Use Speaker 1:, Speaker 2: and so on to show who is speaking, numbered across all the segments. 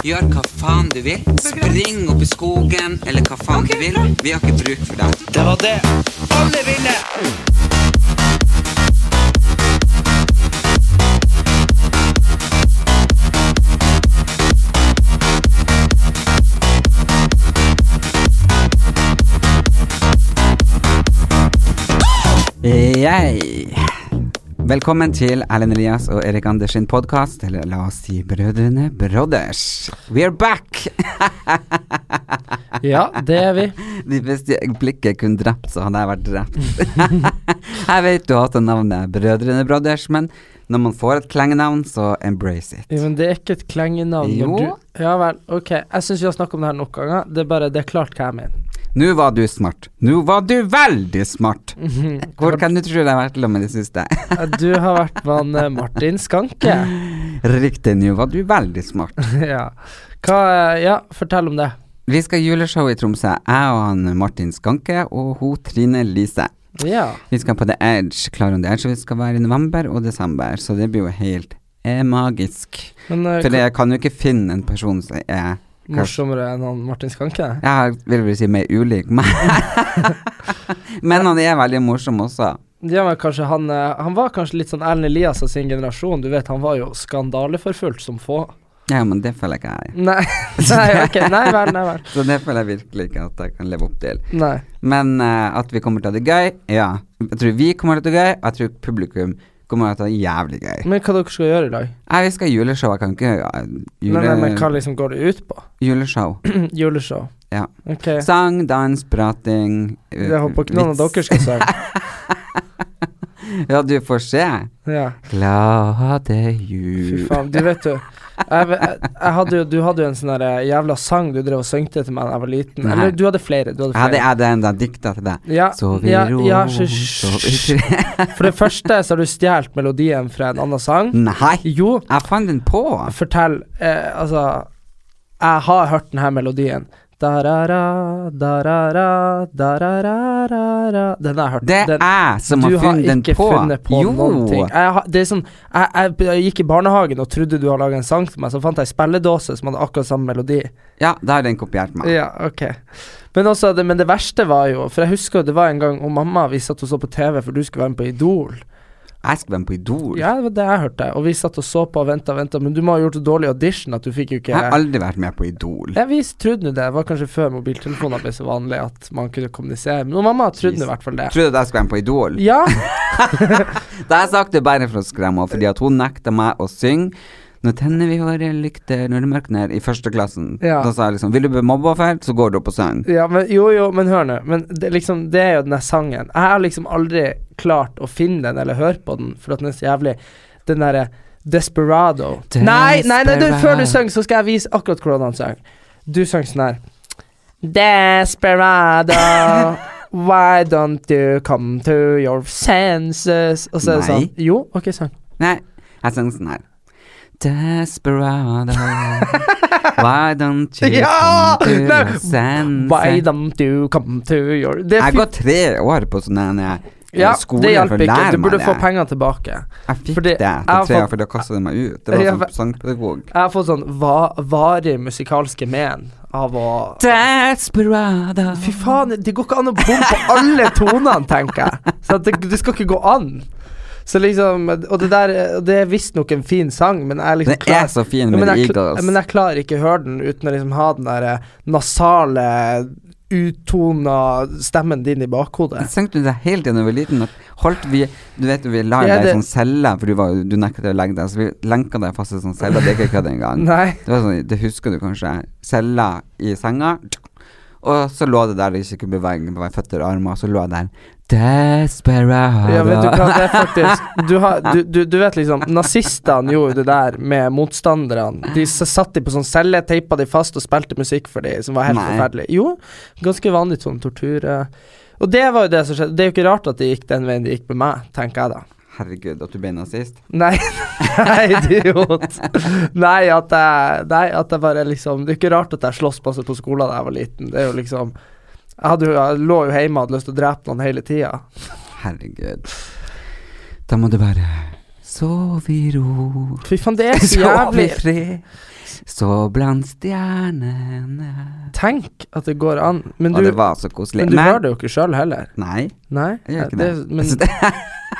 Speaker 1: Gjør hva faen du vil. Spring opp i skogen, eller hva faen du vil. Vi har ikke bruk for deg. Det var det alle ville! Velkommen til Erlend Elias og Erik Anders sin podkast, eller la oss si Brødrene Brothers. We're back!
Speaker 2: Ja, det er vi.
Speaker 1: De beste blikket kunne drept, så hadde jeg vært drept. jeg vet du hater navnet Brødrene Brothers, men når man får et klengenavn, så embrace it.
Speaker 2: Ja, men det er ikke et klengenavn. når
Speaker 1: Jo.
Speaker 2: Du... Ja vel, ok. Jeg syns vi har snakket om det her nok ganger. Det er bare det er klart hva jeg mener.
Speaker 1: Nå var du smart. Nå var du veldig smart! Hvor kan du tro det har vært til og med det siste?
Speaker 2: Eh, Du har vært med han, eh, Martin Skanke.
Speaker 1: Riktig, nå var du veldig smart.
Speaker 2: ja. Hva, eh, ja, fortell om det.
Speaker 1: Vi skal juleshow i Tromsø, jeg og han Martin Skanke og hun Trine Lise.
Speaker 2: Ja.
Speaker 1: Vi skal på The Edge, Klar on The Edge, og vi skal være i november og desember, så det blir jo helt eh, magisk.
Speaker 2: Men eh,
Speaker 1: For
Speaker 2: hva-
Speaker 1: jeg kan jo ikke finne en person som er
Speaker 2: morsommere enn han Martin Skanke?
Speaker 1: Jeg vil vel si mer ulik meg. Men han er veldig morsom også.
Speaker 2: Ja, men kanskje han eh, Han var kanskje litt sånn Erlend Elias av sin generasjon. Du vet, han var jo skandaleforfulgt som få.
Speaker 1: Ja, men det føler jeg ikke jeg.
Speaker 2: Nei, nei, ok. Nei vel, nei vel.
Speaker 1: Så det føler jeg virkelig ikke at jeg kan leve opp til.
Speaker 2: Nei.
Speaker 1: Men eh, at vi kommer til å ha det gøy, ja. Jeg tror vi kommer til å ha det gøy, og jeg tror publikum kommer til å ha det jævlig gøy.
Speaker 2: Men hva dere skal gjøre i dag?
Speaker 1: Nei, vi skal ha juleshow, jeg kan ikke eh,
Speaker 2: Nei,
Speaker 1: jule,
Speaker 2: nei, men hva liksom går det ut på?
Speaker 1: Juleshow.
Speaker 2: Juleshow.
Speaker 1: Ja.
Speaker 2: Ok.
Speaker 1: Sang, dans, prating eh,
Speaker 2: Jeg håper ikke noen av dere skal synge.
Speaker 1: vits. Ja, du får se.
Speaker 2: Ja.
Speaker 1: Glade
Speaker 2: Fy
Speaker 1: jul
Speaker 2: faen. Du vet jo jeg, ve- jeg, jeg hadde jo, Du hadde jo en sånn der, eh, jævla sang du drev og søngte til meg da jeg var liten.
Speaker 1: Nei.
Speaker 2: Eller du hadde flere. Du hadde
Speaker 1: Ja, det
Speaker 2: flere.
Speaker 1: er det enda dikta til deg.
Speaker 2: Ja,
Speaker 1: Sov i
Speaker 2: ja,
Speaker 1: ro,
Speaker 2: ja, så-
Speaker 1: sov i fred.
Speaker 2: For det første så har du stjålet melodien fra en annen sang.
Speaker 1: Mm. Nei,
Speaker 2: Jo,
Speaker 1: jeg fant den på.
Speaker 2: fortell eh, Altså, jeg har hørt denne melodien. Da-ra-ra, da-ra-ra, da-ra-ra-ra-ra Den har jeg hørt.
Speaker 1: Det er
Speaker 2: den,
Speaker 1: jeg som har funnet den på.
Speaker 2: Du har ikke funnet på
Speaker 1: jo.
Speaker 2: noen ting. Jeg, har- det er sånn, jeg, jeg, jeg gikk i barnehagen og trodde du hadde laga en sang til meg, så fant jeg ei spilledåse som hadde akkurat samme melodi.
Speaker 1: Ja, da har den kopiert meg.
Speaker 2: Ja, ok. Men, også, det, men det verste var jo For jeg husker jo det var en gang og mamma vi satt og så på TV, for du skulle være med på Idol.
Speaker 1: Jeg skal være med på Idol.
Speaker 2: Ja, det var det jeg hørte. Og vi satt og så på og venta og venta, men du må ha gjort så dårlig audition at du fikk jo ikke
Speaker 1: Jeg har aldri vært med på Idol.
Speaker 2: ja, Vi trodde nå det. Det var kanskje før mobiltelefoner ble så vanlig at man kunne kommunisere. Men mamma trodde nå i hvert fall det.
Speaker 1: Trodde at jeg skulle være med på Idol.
Speaker 2: Ja,
Speaker 1: Da har jeg sagt det bare for å skremme henne, fordi at hun nekta meg å synge. Nå tenner vi våre lykter når det mørkner, i første klassen.
Speaker 2: Ja.
Speaker 1: Da sa jeg liksom Vil du bli mobba for, så går du opp og synger.
Speaker 2: ja men, jo, jo, men hør nå. Men det, liksom, det er jo den der sangen. Jeg har liksom aldri klart å finne den eller høre på den, for at den er så jævlig Den derre Desperado. Nei, nei, nei, du, før du synger, så skal jeg vise akkurat hvordan han synger. Du synger sånn her Desperado, why don't you come to your senses? Og så er det
Speaker 1: Nei.
Speaker 2: sånn. Jo, OK, sang.
Speaker 1: Nei, jeg synger sånn her. Desperado, why don't you
Speaker 2: Ja!
Speaker 1: come to
Speaker 2: Nei,
Speaker 1: your senses?
Speaker 2: Why don't you come to your Det,
Speaker 1: Jeg
Speaker 2: fi-
Speaker 1: går tre år på sånn en eh,
Speaker 2: ja,
Speaker 1: skole
Speaker 2: det
Speaker 1: for
Speaker 2: hjalp
Speaker 1: å
Speaker 2: ikke.
Speaker 1: lære
Speaker 2: Du
Speaker 1: meg
Speaker 2: burde
Speaker 1: det.
Speaker 2: få penger tilbake.
Speaker 1: Jeg fikk
Speaker 2: Fordi
Speaker 1: det
Speaker 2: jeg
Speaker 1: etter
Speaker 2: har
Speaker 1: tre år,
Speaker 2: fått-
Speaker 1: for da kastet de meg ut. Det var
Speaker 2: Ja,
Speaker 1: som
Speaker 2: men-
Speaker 1: sangpedagog.
Speaker 2: Jeg har fått sånn va varig musikalske men av å
Speaker 1: Desperado.
Speaker 2: Fy faen, det går ikke an å bomme på alle tonene, tenker jeg. Så at det, det skal ikke gå an. Så liksom Og det der og Det er visstnok en fin sang, men jeg liksom
Speaker 1: Den er så fin
Speaker 2: Ja,
Speaker 1: med
Speaker 2: men,
Speaker 1: The
Speaker 2: jeg, kl-
Speaker 1: Eagles.
Speaker 2: men jeg klarer ikke å høre den uten å liksom ha den der eh, nasale, uttona stemmen din i bakhodet.
Speaker 1: Jeg tenkte det hele tiden da jeg var liten. At holdt vi Du vet vi la
Speaker 2: Ja,
Speaker 1: deg i
Speaker 2: det-
Speaker 1: sånn celle, for du, var, du nektet å legge deg, så vi lenka deg fast i sånn celle. Det er ikke kødd engang.
Speaker 2: Nei.
Speaker 1: Det, var sånn, det husker du kanskje. Cella i senga. Og så lå det der og ikke kunne bevege meg på føtter og armer, og så lå jeg der Desperado.
Speaker 2: Ja, vet du hva, det er faktisk Du, har, du, du, du vet liksom, nazistene gjorde det der med motstanderne. De s- satt de på sånn celle, teipa de fast og spilte musikk for de, som var helt
Speaker 1: Nei.
Speaker 2: forferdelig. Jo, ganske vanlig sånn tortur. eh. Og det var jo det som skjedde. Det er jo ikke rart at de gikk den veien de gikk med meg, tenker jeg da.
Speaker 1: Herregud, at du ble nazist.
Speaker 2: Nei, nei, idiot. Nei, at jeg, nei, at jeg bare liksom Det er ikke rart at jeg sloss masse på skolen da jeg var liten. Det er jo liksom Jeg, hadde, jo- jeg lå jo hjemme og hadde lyst til å drepe noen hele tida.
Speaker 1: Herregud. Da må du bare sove i ro.
Speaker 2: Fy faen, det er så
Speaker 1: Sov i
Speaker 2: jævlig
Speaker 1: fred. Sov blant stjernene.
Speaker 2: Tenk at det går an. Men
Speaker 1: Og
Speaker 2: du,
Speaker 1: det var så koselig.
Speaker 2: men du gjør det jo ikke sjøl heller.
Speaker 1: Nei,
Speaker 2: Nei.
Speaker 1: jeg gjør ikke det.
Speaker 2: det, Men,
Speaker 1: Så det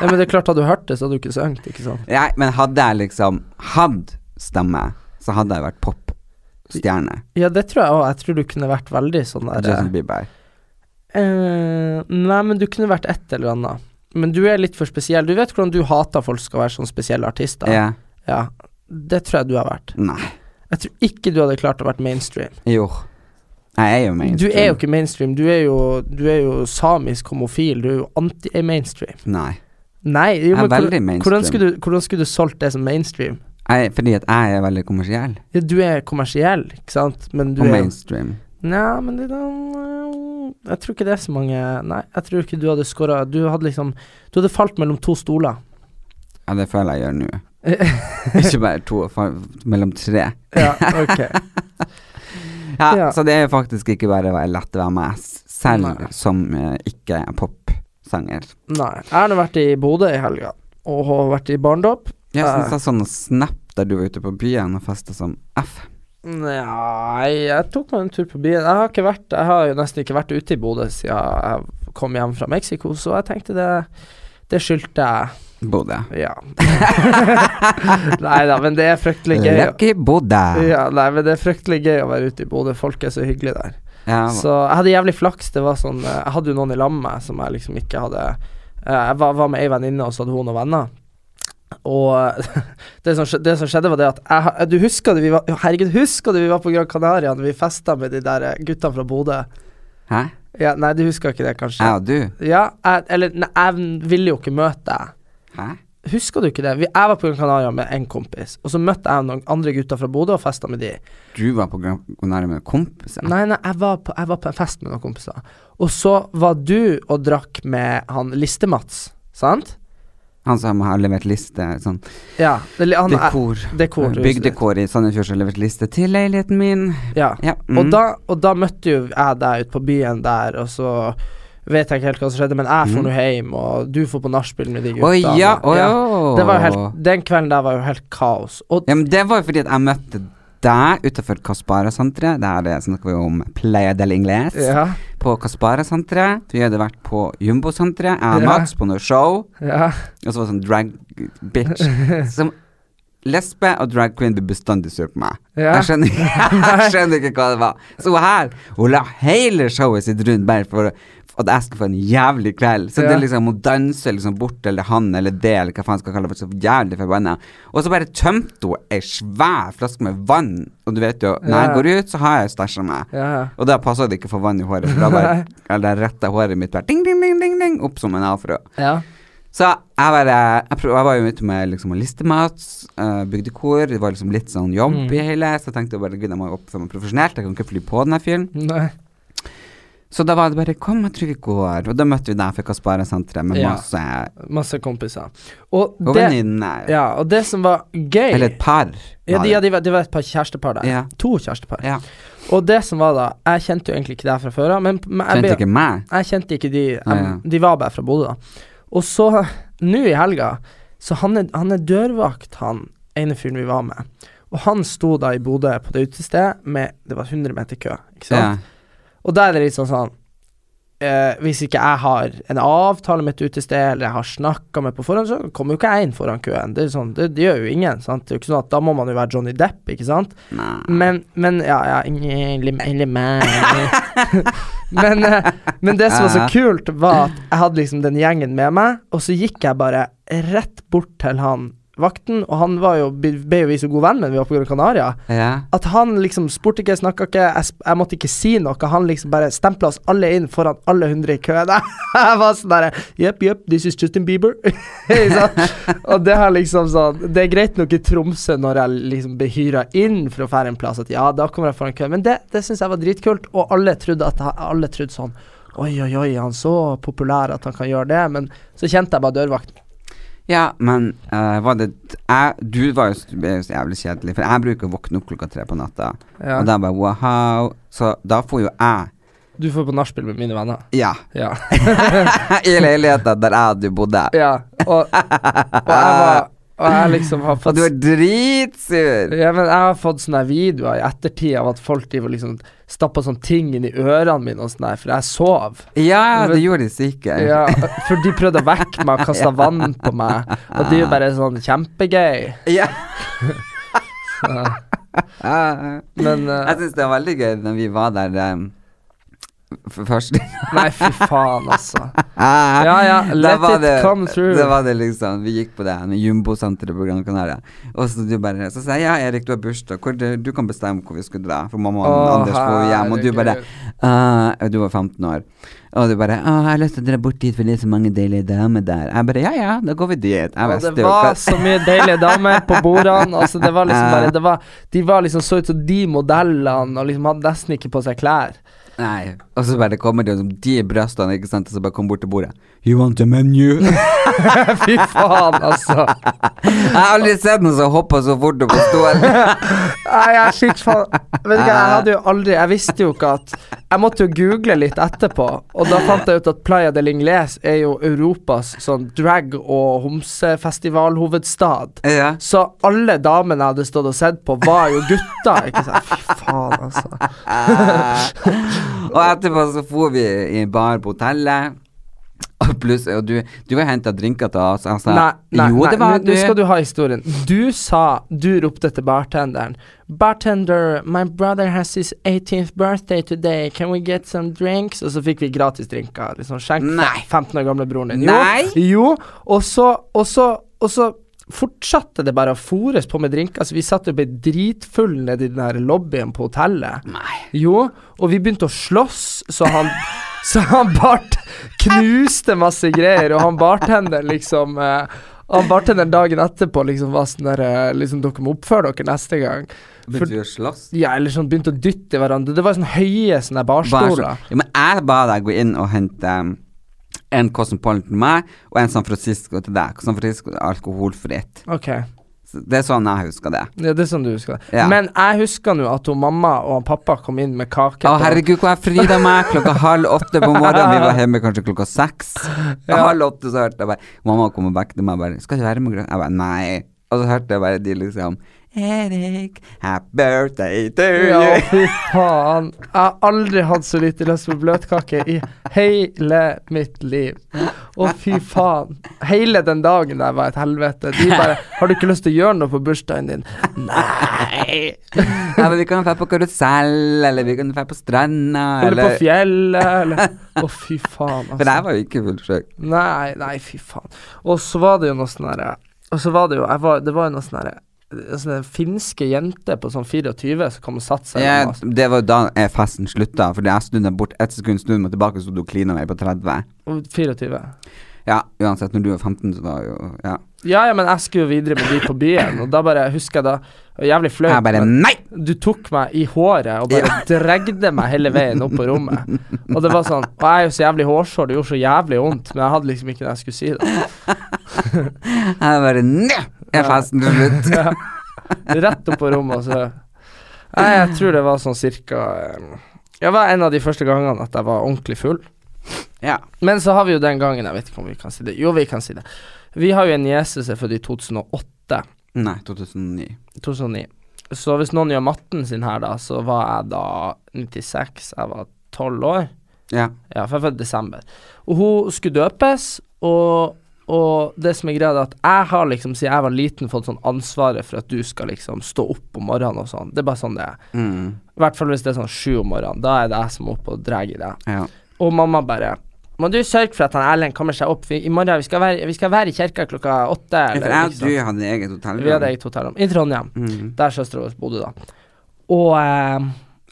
Speaker 2: ja, men det er klart, hadde du hørt det, så hadde du ikke sunget, ikke sant?
Speaker 1: Nei, men hadde jeg liksom hatt stemme, så hadde jeg vært popstjerne.
Speaker 2: Ja, det tror jeg òg. Jeg tror du kunne vært veldig sånn der
Speaker 1: Justin Bieber.
Speaker 2: eh, Nei, men du kunne vært et eller annet. Men du er litt for spesiell. Du vet hvordan du hater folk skal være sånne spesielle artister?
Speaker 1: Ja.
Speaker 2: Ja. Det tror jeg du har vært.
Speaker 1: Nei.
Speaker 2: Jeg tror ikke du hadde klart å være mainstream.
Speaker 1: Jo. Jeg er jo
Speaker 2: Du
Speaker 1: mainstream.
Speaker 2: er jo ikke mainstream. Du er jo, du er jo samisk homofil. Du er jo anti-mainstream.
Speaker 1: Nei.
Speaker 2: Nei, jo,
Speaker 1: Jeg er
Speaker 2: men hvordan-
Speaker 1: veldig mainstream.
Speaker 2: hvordan skulle du, hvordan skulle du solgt det som mainstream?
Speaker 1: Jeg, fordi at jeg er veldig kommersiell.
Speaker 2: Ja, du er kommersiell, ikke sant? Men du
Speaker 1: Og
Speaker 2: er
Speaker 1: mainstream.
Speaker 2: Nei, men det da Jeg tror ikke det er så mange Nei, jeg tror ikke du hadde scora Du hadde liksom Du hadde falt mellom to stoler.
Speaker 1: Ja, det føler jeg gjør nå. ikke bare to, fa- mellom tre.
Speaker 2: Ja, ok.
Speaker 1: Ja,
Speaker 2: Ja.
Speaker 1: Så det er jo faktisk ikke bare å være lett å være med, s- selv
Speaker 2: Nei.
Speaker 1: som eh, ikke er popsanger.
Speaker 2: Nei. Jeg har nå vært i Bodø i helga, og har vært i Eh, barndåp.
Speaker 1: Jeg
Speaker 2: Ja.
Speaker 1: syns jeg så noe snap der du var ute på byen og festa som F.
Speaker 2: Nei, jeg tok meg en tur på byen. Jeg har, ikke vært, jeg har jo nesten ikke vært ute i Bodø siden jeg kom hjem fra Mexico, så jeg tenkte det Det skyldte jeg.
Speaker 1: Bodø.
Speaker 2: Ja. Nei da, men det er fryktelig gøy.
Speaker 1: Lucky Bodø.
Speaker 2: Ja, nei, men det er fryktelig gøy å være ute i Bodø. Folk er så hyggelige der.
Speaker 1: Ja,
Speaker 2: Så jeg hadde jævlig flaks. Det var sånn eh, Jeg hadde jo noen i lag med meg som jeg liksom ikke hadde eh, Jeg var, var med ei venninne, og så hadde hun noen venner. Og eh, det som, skje- det som skjedde, var det at jeg, ha- Du husker det vi var Herregud, husker du vi var på Gran Canaria da vi festa med de der eh, guttene fra Bodø?
Speaker 1: Hæ?
Speaker 2: Ja, nei, du husker ikke det, kanskje?
Speaker 1: Jeg og du?
Speaker 2: Ja, jeg, eller nei, jeg ville jo ikke møte deg.
Speaker 1: Hæ?
Speaker 2: Husker du ikke det? Vi, jeg var på Gran Canaria med en kompis, og så møtte jeg noen andre gutter fra Bodø og festa med de.
Speaker 1: Du var på Gran Canaria med kompiser?
Speaker 2: Nei, nei, jeg var, på, jeg var på en fest med noen kompiser. Og så var du og drakk med han Liste-Mats, sant?
Speaker 1: Han som har levert liste sånn
Speaker 2: Ja. Det, li- han,
Speaker 1: dekor. Mm.
Speaker 2: jeg- dekor du-
Speaker 1: Bygdekor i Sandefjord som har levert liste til leiligheten min.
Speaker 2: Ja.
Speaker 1: Ja. mm.
Speaker 2: Og, da, og da møtte jo jeg deg ute på byen der, og så vet jeg ikke helt hva som skjedde, men jeg dro nå hjem, og du dro på nachspiel med de
Speaker 1: Å
Speaker 2: gutta.
Speaker 1: Mm. ja, å ja.
Speaker 2: Det var jo helt, den kvelden der var jo helt kaos. Og
Speaker 1: Ja, men det var jo fordi at jeg møtte deg utenfor Caspara-senteret. Der snakker vi om Playa del Ingles.
Speaker 2: ja,
Speaker 1: På Caspara-senteret. Vi hadde vært på Jumbo-senteret. Jeg og
Speaker 2: Ja.
Speaker 1: Mats på noe show.
Speaker 2: ja.
Speaker 1: Og så var det sånn drag bitch som Lesbe og drag queen blir bestandig sur på meg.
Speaker 2: Ja.
Speaker 1: Jeg, skjønner, jeg skjønner ikke hva det var. Så hun her hun la hele showet sitt rundt bare for at jeg skulle få en jævlig kveld. Så det
Speaker 2: Ja.
Speaker 1: er liksom, hun danser liksom bort eller han eller det eller hva faen skal jeg kalle det, for så jævlig forbanna. Og så bare tømte hun ei svær flaske med vann, og du vet jo, når jeg
Speaker 2: Ja.
Speaker 1: går ut, så har jeg jo stæsja meg.
Speaker 2: ja, ja.
Speaker 1: Og da passa det ikke å få vann i håret, for da bare eller retta håret mitt bare ding, ding, ding, ding, ding, opp som en afro.
Speaker 2: ja.
Speaker 1: Så jeg var, jeg, prøv, jeg var jo ute med liksom listemat, eh, bygdekor, det var liksom litt sånn jobb
Speaker 2: Mm.
Speaker 1: i hele, så jeg tenkte bare gud, jeg må jo oppføre meg profesjonelt, jeg kan ikke fly på den her fyren.
Speaker 2: Nei.
Speaker 1: Så da var det bare kom, jeg tror vi går, og da møtte vi deg for Kaspara-senteret med
Speaker 2: Ja.
Speaker 1: masse
Speaker 2: Masse kompiser. Og
Speaker 1: og
Speaker 2: det,
Speaker 1: venninner,
Speaker 2: ja, og det som var gøy
Speaker 1: eller et par.
Speaker 2: Ja,
Speaker 1: var
Speaker 2: de,
Speaker 1: det.
Speaker 2: ja, de, var, de var et par kjærestepar der.
Speaker 1: Ja.
Speaker 2: To kjærestepar.
Speaker 1: Ja.
Speaker 2: Og det som var da Jeg kjente jo egentlig ikke deg fra før av, men, men jeg,
Speaker 1: Kjente
Speaker 2: ble-
Speaker 1: ikke meg.
Speaker 2: jeg kjente ikke de. Jeg,
Speaker 1: Nei, ja.
Speaker 2: De var bare fra Bodø, da. Og så, nå i helga, så han er, han er dørvakt, han ene fyren vi var med. Og han sto da i Bodø på det utestedet med Det var 100 meter kø, ikke sant?
Speaker 1: Ja.
Speaker 2: Og da er det litt sånn sånn eh, Hvis ikke jeg har en avtale med et utested, eller jeg har snakka med på forhånd, så kommer jo ikke jeg inn foran køen. Det, er sånn, det, det gjør jo ingen. Sant? Det er jo ikke sånn at Da må man jo være Johnny Depp, ikke sant?
Speaker 1: Nei.
Speaker 2: Men, men Ja, ja ingen lim- ingen lim- men, eh, men det som var så kult, var at jeg hadde liksom den gjengen med meg, og så gikk jeg bare rett bort til han vakten, og han var jo, ble jo vi så god venn med når vi var på Gran Canaria.
Speaker 1: Ja.
Speaker 2: At han liksom spurte ikke, snakka ikke, jeg, sp- jeg måtte ikke si noe. Han liksom bare stempla oss alle inn foran alle hundre i køen. Jeg var sånn derre Jepp, jepp, this is Justin Bieber. Ikke sant? og det har liksom sånn Det er greit nok i Tromsø når jeg liksom blir hyra inn for å fære en plass, at ja, da kommer jeg foran køen. Men det, det syns jeg var dritkult, og alle trodde, at, jeg- alle trodde sånn Oi, oi, oi, han er så populær at han kan gjøre det. Men så kjente jeg bare dørvakten.
Speaker 1: ja, men eh, var det jeg, Du var jo s- ble jo så jævlig kjedelig, for jeg bruker å våkne opp klokka tre på natta,
Speaker 2: Ja.
Speaker 1: og da bare wow. Så da får jo jeg
Speaker 2: Du får på nachspiel med mine venner.
Speaker 1: Ja.
Speaker 2: Ja.
Speaker 1: I leiligheta der jeg og du bodde.
Speaker 2: Ja, og, og jeg var Og jeg liksom
Speaker 1: Og
Speaker 2: har fått
Speaker 1: du er dritsur!
Speaker 2: ja, men jeg har fått sånne her videoer i ettertid av at folk driver og liksom stappa sånne ting inn i ørene mine og sånn her, for jeg sov.
Speaker 1: Ja, det
Speaker 2: Men-
Speaker 1: gjorde de sikkert.
Speaker 2: Ja, for de prøvde å vekke meg og kaste vann på meg, og det er jo bare sånn kjempegøy.
Speaker 1: Ja.
Speaker 2: Men eh,
Speaker 1: Jeg syns det var veldig gøy når vi var der um, f- først.
Speaker 2: Nei, fy faen, altså. Ja, ja,
Speaker 1: Da
Speaker 2: let
Speaker 1: var
Speaker 2: it come through.
Speaker 1: Da var det liksom Vi gikk på det her med Jumbo-senteret på Gran Canaria. Og så du bare Så sa jeg ja, Erik, du har bursdag. Hvor, du, du kan bestemme hvor vi skulle dra. For mamma og
Speaker 2: Å,
Speaker 1: Anders får jo hjem. Og du bare «Ah», Du var 15 år. Og du bare «Ah, 'Jeg har lyst til å dra bort dit, for det er så mange deilige damer der'. Jeg bare 'Ja ja, da går vi dit'. Jeg
Speaker 2: Og
Speaker 1: visste
Speaker 2: det
Speaker 1: jo
Speaker 2: var
Speaker 1: hva-
Speaker 2: så mye deilige damer på bordene. Altså, det var liksom bare det var, De var liksom så ut som de modellene, og liksom hadde nesten ikke på seg klær.
Speaker 1: Nei. Og så bare kommer det jo som de brystene, ikke sant, og så bare kommer bort til bordet. You want a menu? jeg
Speaker 2: Fy faen, altså.
Speaker 1: har aldri sett noen som hopper så fort opp på stolen.
Speaker 2: Nei, jeg er skitt faen Vet du hva, jeg hadde jo aldri Jeg visste jo ikke at Jeg måtte jo google litt etterpå, og da fant jeg ut at Playa del Ingles er jo Europas sånn drag- og homsefestivalhovedstad.
Speaker 1: ja.
Speaker 2: Så alle damene jeg hadde stått og sett på, var jo gutter. Ikke sant? Fy faen, altså.
Speaker 1: Og etterpå så for vi i en bar på hotellet. Og pluss, og du, du har henta drinker til oss. Altså,
Speaker 2: Nei, nei,
Speaker 1: jo,
Speaker 2: nei,
Speaker 1: det var
Speaker 2: nå- nå skal du ha historien. Du sa Du ropte til bartenderen. Bartender, my brother has his 18th birthday today. Can we get some drinks? Og så fikk vi gratis drinker. Liksom skjenk fra
Speaker 1: Nei.
Speaker 2: 15 år gamle broren din.
Speaker 1: Nei.
Speaker 2: Jo, jo. Og så, og så, og så fortsatte det bare å fores på med drinker. Så vi satt og ble dritfulle nede i den her lobbyen på hotellet.
Speaker 1: Nei.
Speaker 2: Jo, og vi begynte å slåss, så han, så han bart knuste masse greier, og han bartenderen liksom eh, Han bartenderen dagen etterpå liksom var sånn der eh, liksom, Dere må oppføre dere neste gang. For-
Speaker 1: Begynte vi å slåss?
Speaker 2: Ja, eller sånn begynte å dytte i hverandre. Det var sånn høye sånne
Speaker 1: Bare
Speaker 2: barstoler.
Speaker 1: så- Ja, men jeg ba deg gå inn og hente um, en Cosmopolitan til meg og en San Francisco til deg. San Francisco er alkoholfritt.
Speaker 2: Ok, ja,
Speaker 1: Så Det er sånn jeg husker det.
Speaker 2: det er sånn du husker det.
Speaker 1: Ja.
Speaker 2: Men jeg husker nå at hun mamma og han pappa kom inn med kake.
Speaker 1: Å
Speaker 2: på-
Speaker 1: herregud, hvor jeg frida meg klokka halv åtte på morgenen. Vi var hjemme kanskje klokka seks. Halv åtte så hørte jeg bare Mamma kom og vekket meg bare 'Skal du være med?' Grønn?» Jeg bare 'Nei'. Og så hørte jeg bare de liksom 'Erik, happy birthday to
Speaker 2: Ja,
Speaker 1: you'.
Speaker 2: fy faen. Jeg har aldri hatt så lite lyst på bløtkake i hele mitt liv. Å, fy faen. Hele den dagen der var et helvete. De bare 'Har du ikke lyst til å gjøre noe på bursdagen din?' Nei.
Speaker 1: Ja, men vi kan dra på karusell, eller vi kan dra på stranda,
Speaker 2: Eller på
Speaker 1: eller
Speaker 2: fjellet, eller Å, fy faen,
Speaker 1: For
Speaker 2: altså.
Speaker 1: jeg var jo ikke fullt sjuk.
Speaker 2: Nei, nei, fy faen. Og så var det jo noe sånn herre Og så var det jo jeg var, Det var jo noe sånn herre Sånne finske jenter på sånn 24 som kom og satte seg med
Speaker 1: Ja,
Speaker 2: oss.
Speaker 1: det var jo da eh, festen slutta, fordi jeg snudde meg bort ett sekund, snudde meg tilbake, så du klina meg på 30.
Speaker 2: Og 24.
Speaker 1: Ja, uansett, når du var 15, så var jo Ja.
Speaker 2: Ja, ja, men jeg skulle jo videre med de på byen, og da bare husker jeg da og Jævlig
Speaker 1: Jeg
Speaker 2: flaut.
Speaker 1: bare
Speaker 2: men
Speaker 1: Nei!
Speaker 2: Du tok meg i håret og bare dregde meg hele veien opp på rommet. Og det var sånn Og jeg er jo så jævlig hårsår, det gjorde så jævlig vondt, men jeg hadde liksom ikke det jeg skulle si. da
Speaker 1: Jeg bare Nei! Er festen til slutt?
Speaker 2: Rett opp på rommet, og så Nei, jeg tror det var sånn cirka eh, Det var en av de første gangene at jeg var ordentlig full.
Speaker 1: Ja.
Speaker 2: Men så har vi jo den gangen Jeg vet ikke om vi kan si det. Jo, vi kan si det. Vi har jo en niese som er født i 2008.
Speaker 1: Nei, 2009.
Speaker 2: 2009. Så hvis noen gjør matten sin her, da, så var jeg da 96. Jeg var 12 år.
Speaker 1: Ja.
Speaker 2: Ja, for jeg er født i desember. Og hun skulle døpes, og, og det som er greia, er at jeg har liksom, siden jeg var liten, fått sånn ansvaret for at du skal liksom stå opp om morgenen og sånn. Det er bare sånn det er.
Speaker 1: Mm.
Speaker 2: I hvert fall hvis det er sånn sju om morgenen. Da er det jeg som er oppe og drar i deg.
Speaker 1: ja.
Speaker 2: Og mamma bare må du sørge for at han Erlend kommer seg opp. Vi, I morgen vi skal være, vi skal være i kirka klokka åtte.
Speaker 1: For
Speaker 2: eller
Speaker 1: jeg og
Speaker 2: ikke sant?
Speaker 1: du hadde eget hotellrom.
Speaker 2: Vi hadde eget hotellrom i Trondheim, der søstera vår bodde da. Og, eh,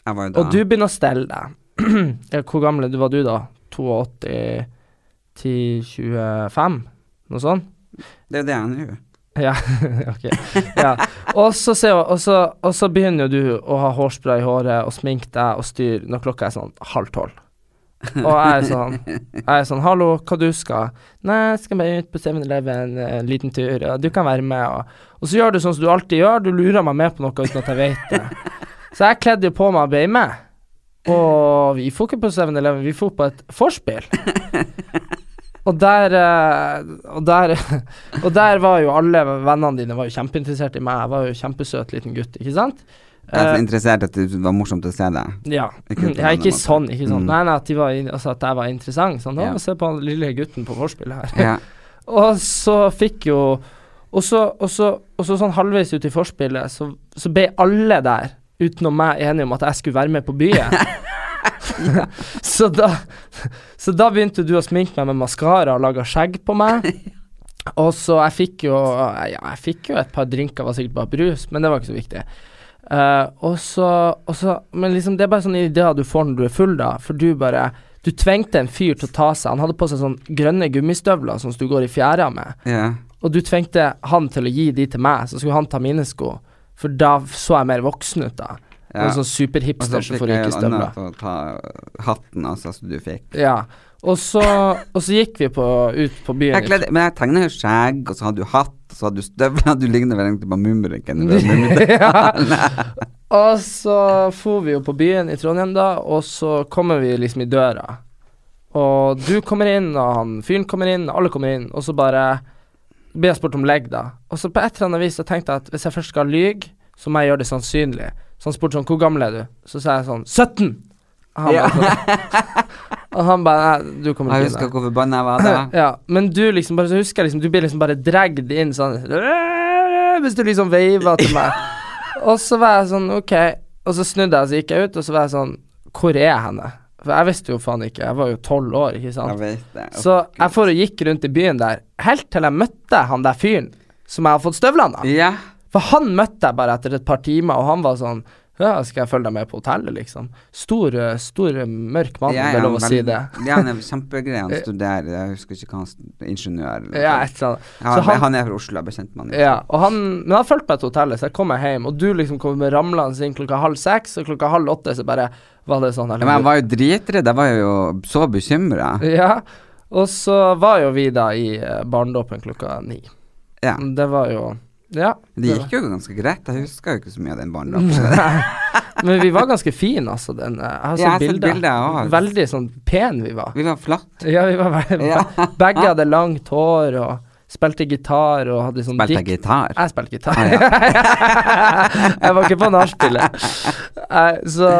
Speaker 1: Jeg var jo da
Speaker 2: og du begynner å stelle deg. Ja, Hvor gammel var du da? 82 10, 25? Noe sånt?
Speaker 1: Det er jo det jeg er nå.
Speaker 2: Ja, ok. Ja. Og, så ser hun, og, så, og så begynner jo du å ha hårspray i håret og sminke deg og styre når klokka er sånn halv tolv. Og jeg er sånn, jeg er sånn 'Hallo, hva du skal?' 'Nei, jeg skal bare ut på 7-Eleven en liten tur, og du kan være med.' Og, og så gjør du sånn som du alltid gjør, du lurer meg med på noe uten at jeg vet det. Så jeg kledde jo på meg og ble med, og vi får ikke på 7-Eleven, vi får på et vorspiel. Og der, eh, og, der, og der var jo alle vennene dine var jo kjempeinteressert i meg. Jeg var jo kjempesøt liten gutt, ikke sant?
Speaker 1: Jeg er
Speaker 2: Eh,
Speaker 1: så interessert at det var morsomt å se deg.
Speaker 2: ja.
Speaker 1: Ikke på
Speaker 2: ja,
Speaker 1: denne
Speaker 2: ikke
Speaker 1: måten.
Speaker 2: sånn. ikke sånn
Speaker 1: Mm.
Speaker 2: Nei, nei, at, de var, in- altså, at jeg var interessant. Sånn,
Speaker 1: Ja.
Speaker 2: Å, se på han lille gutten på vorspielet her.
Speaker 1: Ja.
Speaker 2: Og så fikk jo Og så, og så, og så sånn halvveis ut i forspillet, så, så ble alle der, utenom meg, enige om at jeg skulle være med på byen. så, da, så da begynte du å sminke meg med maskara og lage skjegg på meg. Og så jeg fikk jo ja, Jeg fikk jo et par drinker, var sikkert bare brus, men det var ikke så viktig. Eh, og så, og så Men liksom, det er bare sånne ideer du får når du er full, da. For du bare Du tvengte en fyr til å ta seg Han hadde på seg sånne grønne gummistøvler sånn som du går i fjæra med.
Speaker 1: ja.
Speaker 2: Og du tvengte han til å gi de til meg, så skulle han ta mine sko. For da så jeg mer voksen ut, da.
Speaker 1: Ja.
Speaker 2: En
Speaker 1: Og
Speaker 2: sånn
Speaker 1: så
Speaker 2: superhipster som
Speaker 1: fikk
Speaker 2: får
Speaker 1: jeg jo
Speaker 2: rykestøvler.
Speaker 1: annet til å ta hatten, altså, som du fikk.
Speaker 2: Ja. Og så, og så gikk vi på, ut på byen.
Speaker 1: Jeg kledde, men jeg tegna jo skjegg, og så hadde du hatt, og så hadde du støvler Du ligner vel egentlig på Mumrikken. eller Mumrikken.
Speaker 2: Og så for vi jo på byen i Trondheim da, og så kommer vi liksom i døra. Og du kommer inn, og han fyren kommer inn, alle kommer inn, og så bare blir jeg spurt om legg, da. Og så på et eller annet vis så tenkte jeg at hvis jeg først skal lyge, så må jeg gjøre det sannsynlig. Så han spurte sånn, hvor gammel er du? Så sa jeg sånn, 17! Og han bare, sånn- og han bare nei, du kommer
Speaker 1: Jeg
Speaker 2: ikke inn.
Speaker 1: husker
Speaker 2: der.»
Speaker 1: hvor forbanna jeg var da.
Speaker 2: Ja, men du liksom bare, så husker jeg liksom, du blir liksom bare dragd inn sånn Hvis du liksom veiver til meg. Og så var jeg sånn, ok. Og så snudde jeg, så gikk jeg ut, og så var jeg sånn, hvor er jeg henne? For jeg visste jo faen ikke, jeg var jo tolv år, ikke sant.
Speaker 1: Jeg vet det.
Speaker 2: Så jeg for og gikk rundt i byen der, helt til jeg møtte han der fyren som jeg har fått støvlene av.
Speaker 1: Ja.
Speaker 2: For han møtte jeg bare etter et par timer, og han var sånn ja, skal jeg følge deg med på hotellet, liksom? Stor, eh, stor eh, mørk mann,
Speaker 1: Ja,
Speaker 2: om det er
Speaker 1: ja,
Speaker 2: lov å si
Speaker 1: veldig-
Speaker 2: det.
Speaker 1: Ja, han er kjempegreie. Han studerer, jeg husker ikke hva han st- Ingeniør. eller noe
Speaker 2: Ja,
Speaker 1: sånt.
Speaker 2: et eller annet.
Speaker 1: Ja,
Speaker 2: Så
Speaker 1: han, han er fra Oslo, jeg ble kjent med han. i
Speaker 2: Ja, og han, men han fulgte meg til hotellet, så jeg kom meg hjem. Og du liksom kom med ramlende inn klokka halv seks, og klokka halv åtte så bare var det sånn.
Speaker 1: Ja, men jeg var jo dritredd, jeg var jo så bekymra.
Speaker 2: ja, og så var jo vi da i eh, barnedåpen klokka ni.
Speaker 1: Ja.
Speaker 2: Det var jo Ja.
Speaker 1: Det gikk jo ganske greit, jeg husker jo ikke så mye av den barndommen.
Speaker 2: Men vi var ganske fine, altså. Den, eh, jeg har
Speaker 1: Ja,
Speaker 2: sett
Speaker 1: jeg har sett
Speaker 2: bilder.
Speaker 1: bilder, ja.
Speaker 2: Veldig sånn pen vi var.
Speaker 1: Vi var flatt.
Speaker 2: Ja, vi var veldig
Speaker 1: Ja.
Speaker 2: Begge hadde langt hår og spilte gitar og hadde sånn
Speaker 1: Spilte jeg
Speaker 2: dikt-
Speaker 1: gitar?
Speaker 2: Jeg spilte gitar.
Speaker 1: Ah,
Speaker 2: jeg var ikke på nachspielet. Nei, Så,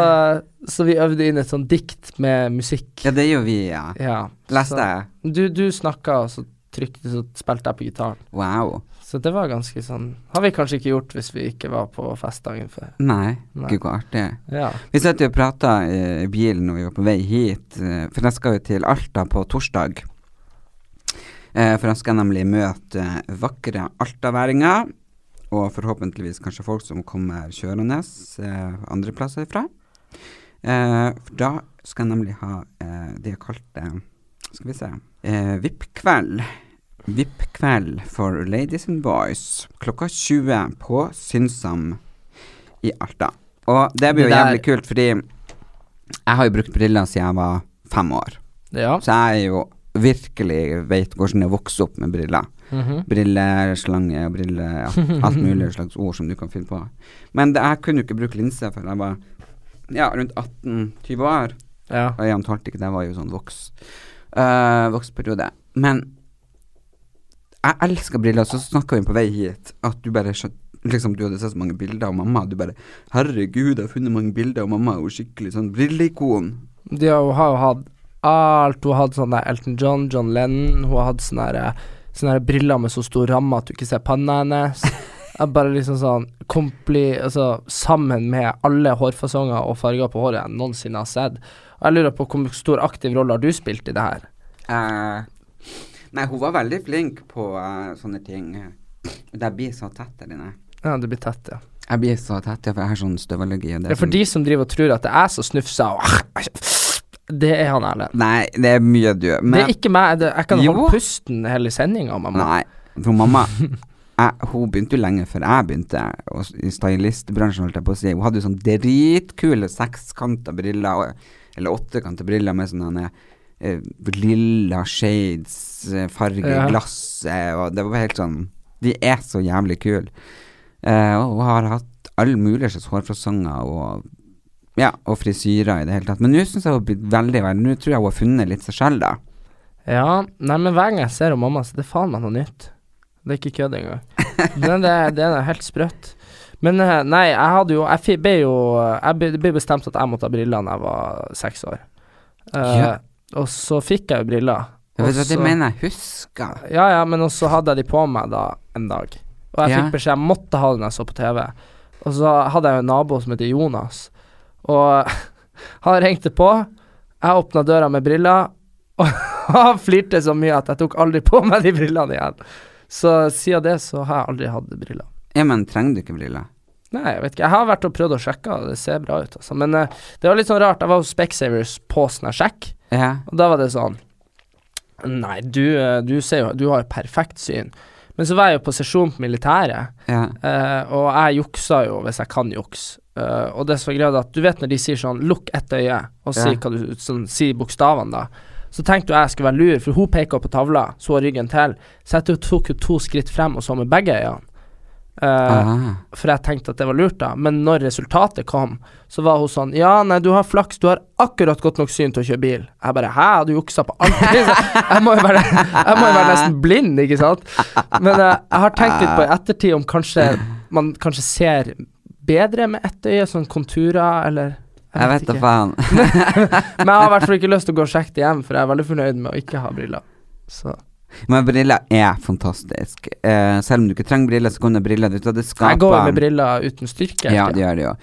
Speaker 2: så vi øvde inn et sånt dikt med musikk.
Speaker 1: Ja, det gjorde vi, ja.
Speaker 2: Ja.
Speaker 1: Leste jeg.
Speaker 2: Så, du du snakka, og så trykte så spilte jeg på gitaren.
Speaker 1: Wow.
Speaker 2: Så det var ganske sånn Har vi kanskje ikke gjort hvis vi ikke var på fest dagen før.
Speaker 1: Nei,
Speaker 2: Nei.
Speaker 1: gud så artig.
Speaker 2: Ja.
Speaker 1: Vi satt jo og prata i bilen når vi var på vei hit, eh, for jeg skal jo til Alta på torsdag. Eh, For jeg skal nemlig møte vakre altaværinger, og forhåpentligvis kanskje folk som kommer kjørende eh, andre plasser ifra. Eh, For da skal jeg nemlig ha eh, det jeg kalte Skal vi se eh, VIP-kveld. VIP-kveld for ladies and boys klokka 20 på Synsam i Alta. Og det blir jo
Speaker 2: Det der-
Speaker 1: jævlig kult, fordi jeg har jo brukt briller siden jeg var fem år.
Speaker 2: ja.
Speaker 1: Så jeg er jo virkelig vet hvordan jeg vokser opp med briller. Mhm. Briller, slange og briller, alt, alt mulig slags ord som du kan finne på. Men det, jeg kunne jo ikke bruke linse før jeg var ja, rundt 18-20 år.
Speaker 2: ja.
Speaker 1: Og i Antarktika, det var jo sånn voks, eh, voksperiode. Men jeg elsker briller. Så snakka vi på vei hit at du bare skjøn- Liksom, du hadde sett så mange bilder av mamma. Du bare 'Herregud, jeg har funnet mange bilder av mamma.' Hun er jo skikkelig sånn brilleikon.
Speaker 2: De har, hun har jo hatt alt. Hun har hatt sånn der Elton John, John Lennon. Hun har hatt sånne, der, sånne der briller med så stor ramme at du ikke ser panna hennes. Jeg Bare liksom sånn kompli, altså, Sammen med alle hårfasonger og farger på håret jeg noensinne har sett. Og jeg lurer på hvor stor aktiv rolle har du spilt i det her?
Speaker 1: Eh, nei, hun var veldig flink på eh, sånne ting. Jeg blir så tett der inne.
Speaker 2: Ja, du blir tett, ja.
Speaker 1: Jeg blir så tett, ja, for jeg har sånn støvallergi. og det er
Speaker 2: ja for
Speaker 1: sånn-
Speaker 2: de som driver og tror at det er jeg som snufser og Det er han Erlend.
Speaker 1: Nei, det er mye du
Speaker 2: Det er ikke meg. Det, jeg kan
Speaker 1: Jo.
Speaker 2: holde pusten hele sendinga, mamma.
Speaker 1: Nei, for mamma jeg, Hun begynte jo lenge før jeg begynte og, s- i stylistbransjen, holdt jeg på å si. Hun hadde jo sånn dritkule sekskanta briller, og, eller åttekanta briller med sånne eh, lilla shades, eh, farge i
Speaker 2: Ja.
Speaker 1: glasset, og det var helt sånn De er så jævlig kule. Eh, og hun har hatt alle mulige slags hårfasonger og ja, og frisyrer i det hele tatt. Men nå syns jeg hun har blitt veldig veldig Nå tror jeg hun har funnet litt seg selv da.
Speaker 2: Ja, nei, men hver gang jeg ser om mamma, så det er faen meg noe nytt. Det er ikke kødd engang. Men det, det er helt sprøtt. Men eh, nei, jeg hadde jo Jeg fi- ble jo Jeg ble, det ble bestemt at jeg måtte ha briller da jeg var seks år. Eh,
Speaker 1: Ja.
Speaker 2: Og så fikk jeg jo briller.
Speaker 1: Jeg vet du hva,
Speaker 2: Og
Speaker 1: det
Speaker 2: så-
Speaker 1: mener jeg husker.
Speaker 2: Ja, ja, men også hadde jeg de på meg da en dag. Og jeg
Speaker 1: Ja.
Speaker 2: fikk beskjed, jeg måtte ha det når jeg så på TV. Og så hadde jeg jo en nabo som heter Jonas, og han ringte på. Jeg åpna døra med briller, og han flirte så mye at jeg tok aldri på meg de brillene igjen. Så siden det så har jeg aldri hatt briller.
Speaker 1: Ja, men trenger du ikke briller?
Speaker 2: Nei, jeg vet ikke. Jeg har vært og prøvd å sjekke, og det ser bra ut, altså. Men eh, det var litt sånn rart. Jeg var hos Specsavers på sånn her sjekk.
Speaker 1: Ja.
Speaker 2: Og da var det sånn Nei, du, eh, du ser jo Du har jo perfekt syn. Men så var jeg jo på sesjon på militæret,
Speaker 1: ja.
Speaker 2: eh, og jeg juksa jo hvis jeg kan juks. Eh, og det som var greia, da, at du vet når de sier sånn 'lukk ett øye', og si,
Speaker 1: Ja.
Speaker 2: hva du, sånn, si bokstavene, da. Så tenkte jo jeg skulle være lur, for hun peker på tavla, så hun ryggen til. Så jeg tok- tok jo to skritt frem og så med begge øynene. Eh,
Speaker 1: Aha.
Speaker 2: for jeg tenkte at det var lurt, da. Men når resultatet kom, så var hun sånn Ja, nei, du har flaks, du har akkurat godt nok syn til å kjøre bil. Jeg bare Hæ, du juksa på alt? Jeg må jo være, jeg må jo være nesten blind, ikke sant? Men eh, jeg har tenkt litt på i ettertid om kanskje man kanskje ser bedre med ett øye, sånn konturer, eller
Speaker 1: Jeg vet da
Speaker 2: ikke.
Speaker 1: faen.
Speaker 2: Men jeg har i hvert fall ikke lyst til å gå og sjekke det hjem, for jeg er veldig fornøyd med å ikke ha briller. Så
Speaker 1: Men briller er fantastisk. Eh, selv om du ikke trenger briller, så kan du ha briller. Du vet at det skaper
Speaker 2: jeg går jo med briller uten styrke.
Speaker 1: Ja, det gjør det jo.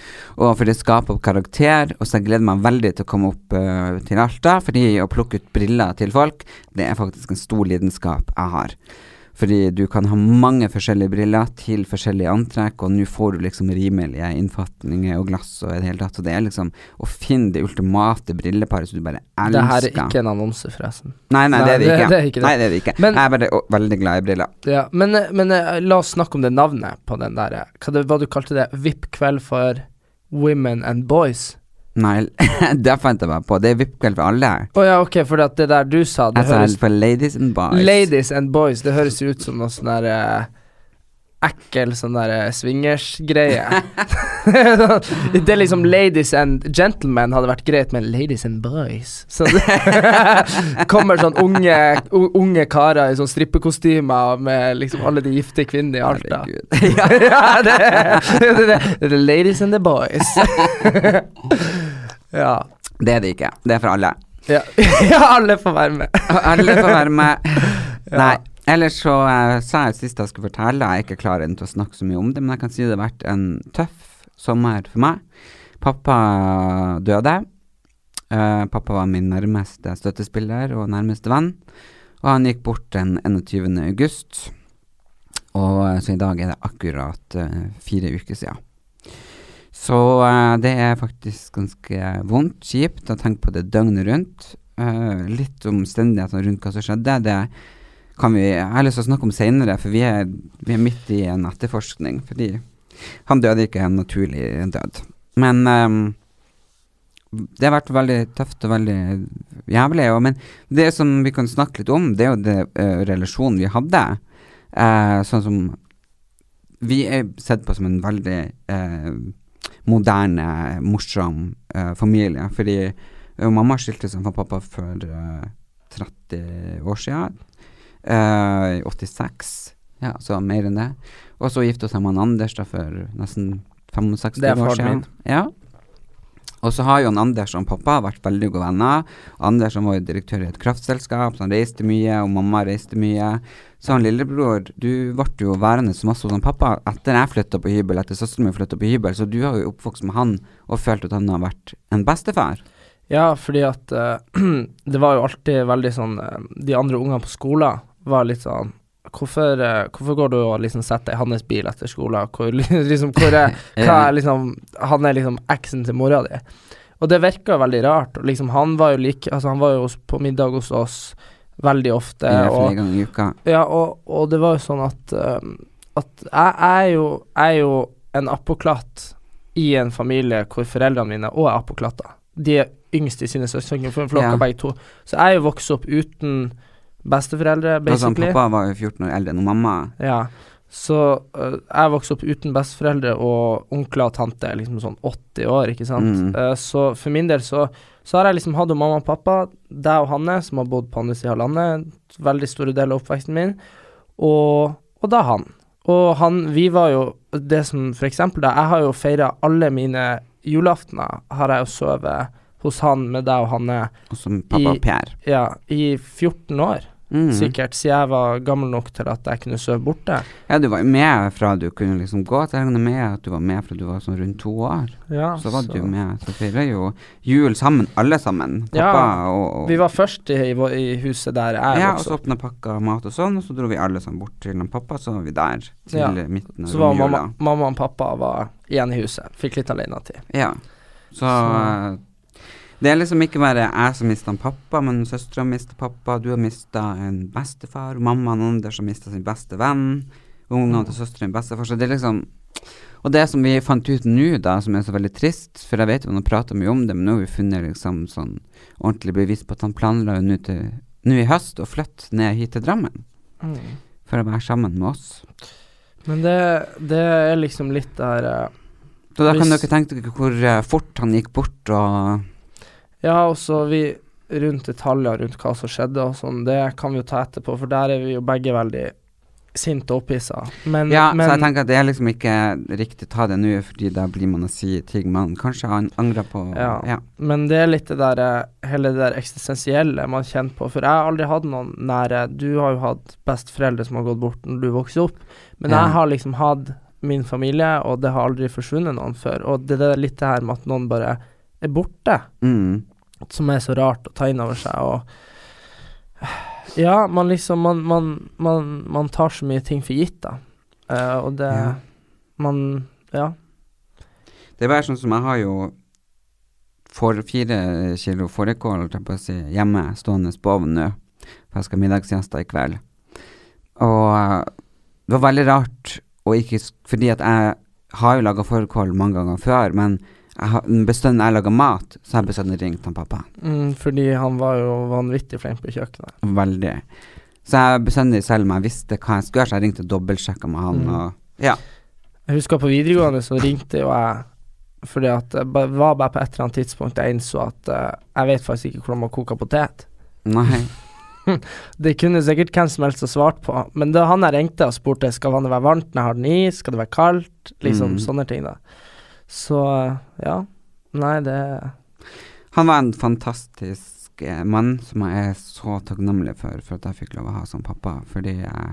Speaker 1: Og for det skaper karakter, og så jeg gleder meg veldig til å komme opp eh, til Alta, fordi å plukke ut briller til folk, det er faktisk en stor lidenskap jeg har. Fordi du kan ha mange forskjellige briller til forskjellige antrekk, og nå får du liksom rimelige innfatninger og glass og i det hele tatt. Og det er liksom å finne det ultimate brilleparet som du bare elsker.
Speaker 2: det her er ikke en annonse, forresten.
Speaker 1: Nei, nei, det er det
Speaker 2: Nei,
Speaker 1: ikke.
Speaker 2: det- det er ikke det.
Speaker 1: Nei, det er det ikke.
Speaker 2: Men-
Speaker 1: jeg er bare å, veldig glad i briller.
Speaker 2: Ja, men, eh, men eh, la oss snakke om det navnet på den der eh, Hva, det, hva du kalte det? VIP-kveld for women and boys?
Speaker 1: Nei, det fant jeg meg på. Det er VIP-kveld for alle.
Speaker 2: Å ja, ok, for at det der du sa, det
Speaker 1: Jeg sa
Speaker 2: høres
Speaker 1: for ladies and boys.
Speaker 2: Ladies and boys, det høres jo ut som noe sånn der eh, ekkel sånn der eh, swingers-greie. det er liksom ladies and gentlemen hadde vært greit, men ladies and boys Så det kommer sånn unge, u- unge karer i sånn strippekostymer med liksom alle de gifte kvinnene i Alta.
Speaker 1: Herregud.
Speaker 2: ja, det, det, det, det er ladies and the boys. ja.
Speaker 1: Det er det ikke. Det er for alle.
Speaker 2: Ja. alle får være med.
Speaker 1: Alle får være med. Nei. Ellers så eh, sa jeg sist jeg skulle fortelle, jeg er ikke klar ennå til å snakke så mye om det, men jeg kan si det har vært en tøff sommer for meg. Pappa døde. Eh, pappa var min nærmeste støttespiller og nærmeste venn, og han gikk bort den 21. august. Og eh, så i dag er det akkurat eh, fire uker siden. Så eh, det er faktisk ganske vondt, kjipt, å tenke på det døgnet rundt. Eh, litt omstendighetene rundt hva som skjedde, det kan vi Jeg har lyst til å snakke om seinere, for vi er, vi er midt i en etterforskning. Fordi han døde ikke en naturlig død. Men eh, det har vært veldig tøft og veldig jævlig. Og, men det som vi kan snakke litt om, det er jo det eh, relasjonen vi hadde. Eh, sånn som Vi er sett på som en veldig eh, moderne, morsom eh, familie. Fordi eh, mamma skilte seg fra pappa for eh, 30 år siden. eh, I 86. Ja, så mer enn det. Og så gifta hun seg med han Anders da for nesten 65 år siden.
Speaker 2: Det er faren min.
Speaker 1: Ja. Og så har jo han Anders og pappa vært veldig gode venner. Anders han var jo direktør i et kraftselskap, så han reiste mye, og mamma reiste mye. Så han lillebror, du ble jo værende så masse hos han pappa etter jeg flytta på hybel, etter søsteren min flytta på hybel, så du har jo oppvokst med han og følt at han har vært en bestefar.
Speaker 2: Ja, fordi at eh, det var jo alltid veldig sånn eh, De andre ungene på skolen var litt sånn Hvorfor, eh, hvorfor går du og liksom setter deg i hans bil etter skolen? Hvor, liksom, hvor er, hva er liksom Han er liksom eksen til mora di. Og det virka veldig rart. Og liksom, han var jo like Altså, han var jo hos- på middag hos oss veldig ofte.
Speaker 1: Eller
Speaker 2: og,
Speaker 1: flere ganger i uka.
Speaker 2: Ja, og, og det var jo sånn at, ehm, at jeg, jeg, er jo, jeg er jo en apoklatt i en familie hvor foreldrene mine òg er apoklatter. De er yngst i sine søsken, for en flokk
Speaker 1: Ja.
Speaker 2: av begge to. Så jeg er jo vokst opp uten besteforeldre,
Speaker 1: Altså,
Speaker 2: basically.
Speaker 1: pappa var jo 14 år eldre enn hun mamma.
Speaker 2: ja. Så øh, jeg vokste opp uten besteforeldre, og onkler og tante er liksom sånn 80 år, ikke sant.
Speaker 1: Mm.
Speaker 2: Eh, så for min del så, så har jeg liksom hatt jo mamma og pappa, deg og Hanne, som har bodd på andre sida av landet, veldig store deler av oppveksten min, og, og da han. Og han, vi var jo det som for eksempel da, jeg har jo feira alle mine julaftener, har jeg jo sovet hos han med deg og Hanne,
Speaker 1: Og som pappa
Speaker 2: I-
Speaker 1: og Per.
Speaker 2: ja, i 14 år.
Speaker 1: Mm.
Speaker 2: Sikkert, siden jeg var gammel nok til at jeg kunne sove borte.
Speaker 1: Ja, du var jo med fra du kunne liksom gå. Så jeg regner med at du var med fra du var sånn rundt to år.
Speaker 2: Ja,
Speaker 1: Så var du med. Så feira jo jul sammen, alle sammen.
Speaker 2: Altså. Ja,
Speaker 1: Pappa og, og
Speaker 2: Vi var først i, i, vår- i huset der jeg
Speaker 1: Ja, og
Speaker 2: vokste
Speaker 1: så
Speaker 2: opp.
Speaker 1: åpna pakka mat og sånn, og så dro vi alle sammen bort til han pappa, så var vi der til
Speaker 2: Ja.
Speaker 1: midten av
Speaker 2: Så var
Speaker 1: romjula.
Speaker 2: mamma, mamma og pappa var igjen i huset. Fikk litt alenetid.
Speaker 1: Ja. Så, eh,
Speaker 2: Så-
Speaker 1: det er liksom ikke bare jeg som mista pappa, men søstera mista pappa, du har mista en bestefar, mammaen Anders har mista sin beste venn,
Speaker 2: Mm.
Speaker 1: ungene til søstera en bestefar, så det er liksom Og det som vi fant ut nå, da, som er så veldig trist, for jeg vet jo man har prata mye om det, men nå har vi funnet liksom sånn ordentlig bevis på at han planla jo nå til nå i høst å flytte ned hit til Drammen for å være sammen med oss.
Speaker 2: Men det, det er liksom litt der eh,
Speaker 1: Så da kan
Speaker 2: Hvis-
Speaker 1: dere tenke dere hvor eh, fort han gikk bort og
Speaker 2: Ja, og så vi rundt detaljer rundt hva som skjedde og sånn, det kan vi jo ta etterpå, for der er vi jo begge veldig sinte og opphissa. Men,
Speaker 1: Ja,
Speaker 2: men
Speaker 1: så jeg tenker at det er liksom ikke riktig å ta det nå, fordi da blir man å si ting man kanskje an- angrer på.
Speaker 2: Ja. Men det er litt det der eh, hele det der eksistensielle man kjenner på. For jeg har aldri hatt noen nære Du har jo hatt besteforeldre som har gått bort når du vokste opp, men
Speaker 1: Ja.
Speaker 2: jeg har liksom hatt min familie, og det har aldri forsvunnet noen før. Og det er litt det her med at noen bare er borte,
Speaker 1: Mm.
Speaker 2: som er så rart å ta inn over seg, og Ja, man liksom Man, man, man, man tar så mye ting for gitt, da. Eh, og det
Speaker 1: Ja.
Speaker 2: Man Ja.
Speaker 1: Det er bare sånn som jeg har jo for fire kilo fårikål holdt jeg på å si, hjemme stående på ovnen nå, for jeg skal ha middagsgjester i kveld. Og eh, det var veldig rart, og ikke, s- fordi at jeg har jo laga fårikål mange ganger før, men jeg har, bestående jeg lager mat, så har jeg bestandig ringt han pappa.
Speaker 2: Mm, fordi han var jo vanvittig flink på kjøkkenet.
Speaker 1: Veldig. Så jeg bestandig selv om jeg visste hva jeg skulle gjøre, så jeg ringte og dobbeltsjekka med han.
Speaker 2: Mm.
Speaker 1: Og, ja.
Speaker 2: Jeg husker på videregående så ringte jo jeg fordi at det ba- var bare på et eller annet tidspunkt jeg innså at eh, jeg vet faktisk ikke hvordan man koker potet.
Speaker 1: Nei.
Speaker 2: Det kunne sikkert hvem som helst ha svart på, men da han jeg ringte og spurte skal vannet være varmt når jeg har den i, skal det være kaldt, liksom
Speaker 1: Mm.
Speaker 2: sånne ting, da. Så ja. Nei, det
Speaker 1: Han var en fantastisk eh, mann som jeg er så takknemlig for, for at jeg fikk lov å ha som pappa. Fordi jeg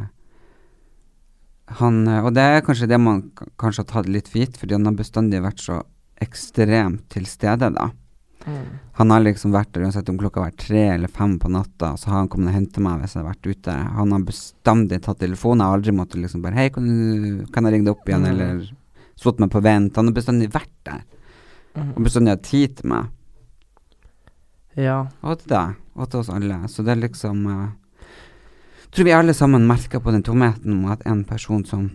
Speaker 1: han, eh, og det er kanskje det man k- kanskje har tatt litt for gitt, fordi han har bestandig vært så ekstremt til stede, da. Han har liksom vært der uansett om klokka var tre eller fem på natta, så har han kommet og hentet meg hvis jeg har vært ute. Han har bestandig tatt telefonen, jeg har aldri måttet liksom bare Hei, kan, du, kan jeg ringe deg opp igjen,
Speaker 2: Mm.
Speaker 1: eller stått meg på vent. Han har bestandig vært der, og
Speaker 2: Mm.
Speaker 1: bestandig hatt tid til meg.
Speaker 2: Ja.
Speaker 1: Og til deg, og til oss alle. Så det er liksom eh, Tror vi alle sammen merker på den tomheten om at en person som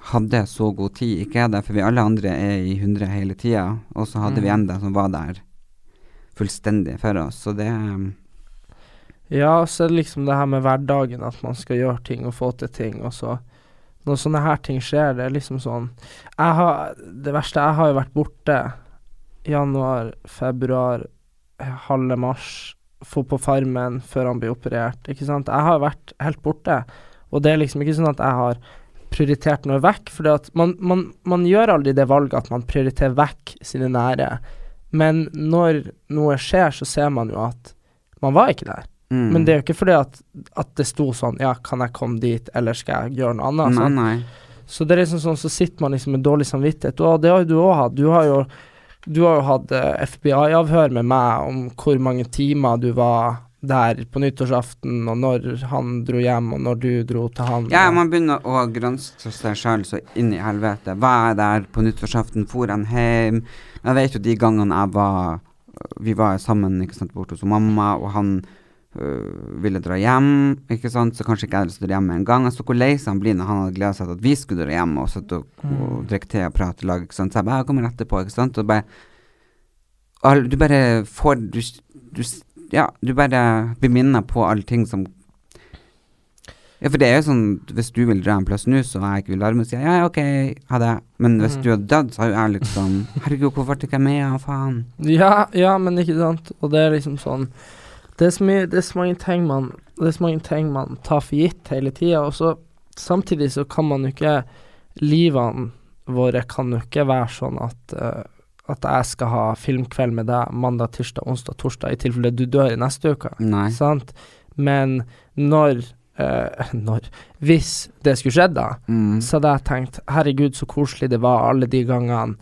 Speaker 1: hadde så god tid, ikke er der, for vi alle andre er i 100 hele tida, og så hadde
Speaker 2: Mm.
Speaker 1: vi en der som var der fullstendig for oss, så det eh,
Speaker 2: Ja, så er det liksom det her med hverdagen, at man skal gjøre ting og få til ting, og så Når sånne her ting skjer, det er liksom sånn Jeg har Det verste, jeg har jo vært borte januar, februar, halve mars, få på farmen før han blir operert, ikke sant. Jeg har vært helt borte, og det er liksom ikke sånn at jeg har prioritert noe vekk, for man, man, man gjør aldri det valget at man prioriterer vekk sine nære, men når noe skjer, så ser man jo at man var ikke der.
Speaker 1: mm.
Speaker 2: Men det er jo ikke fordi at, at det sto sånn Ja, kan jeg komme dit, eller skal jeg gjøre noe annet?
Speaker 1: Nei,
Speaker 2: altså. sant?
Speaker 1: nei.
Speaker 2: Så det er liksom sånn, så sitter man liksom med dårlig samvittighet. Og det har jo du òg hatt. Du har jo Du har jo hatt eh, FBI-avhør med meg om hvor mange timer du var der på nyttårsaften, og når han dro hjem, og når du dro til han.
Speaker 1: Ja,
Speaker 2: og-
Speaker 1: man begynner å granske seg sjøl så inn i helvete. Var jeg der på nyttårsaften? For han hjem? Jeg vet jo de gangene jeg var Vi var sammen ikke sant, borte hos mamma, og han øh, ville dra hjem, ikke sant, så kanskje ikke jeg hadde lyst til å dra hjem med en gang. Jeg så hvor lei seg han blir når han hadde gleda seg til at vi skulle dra hjem og sitte og, og drikke te og prate i lag, ikke sant. Så jeg bare «Ja, Jeg kommer etterpå, ikke sant. Og bare all, Du bare får du, du, Ja, du bare blir minnet på alle ting som ja, for det er jo sånn, hvis du vil dra en plass nå, så jeg ikke vil være med, sier jeg ja, ja, ok, ha det. Men hvis
Speaker 2: Mm.
Speaker 1: du hadde dødd, så har jo jeg liksom Herregud, hvorfor ble ikke jeg med, ja, faen?
Speaker 2: Ja, ja, men ikke sant. Og det er liksom sånn Det er så, mye, det er så mange ting man Det er så mange ting man tar for gitt hele tida, og så samtidig så kan man jo ikke Livene våre kan jo ikke være sånn at eh, at jeg skal ha filmkveld med deg mandag, tirsdag, onsdag, torsdag, i tilfelle du dør i neste uke.
Speaker 1: Nei.
Speaker 2: Sant? Men når eh, Når Hvis det skulle skjedd, da,
Speaker 1: Mm.
Speaker 2: så hadde jeg tenkt herregud, så koselig det var alle de gangene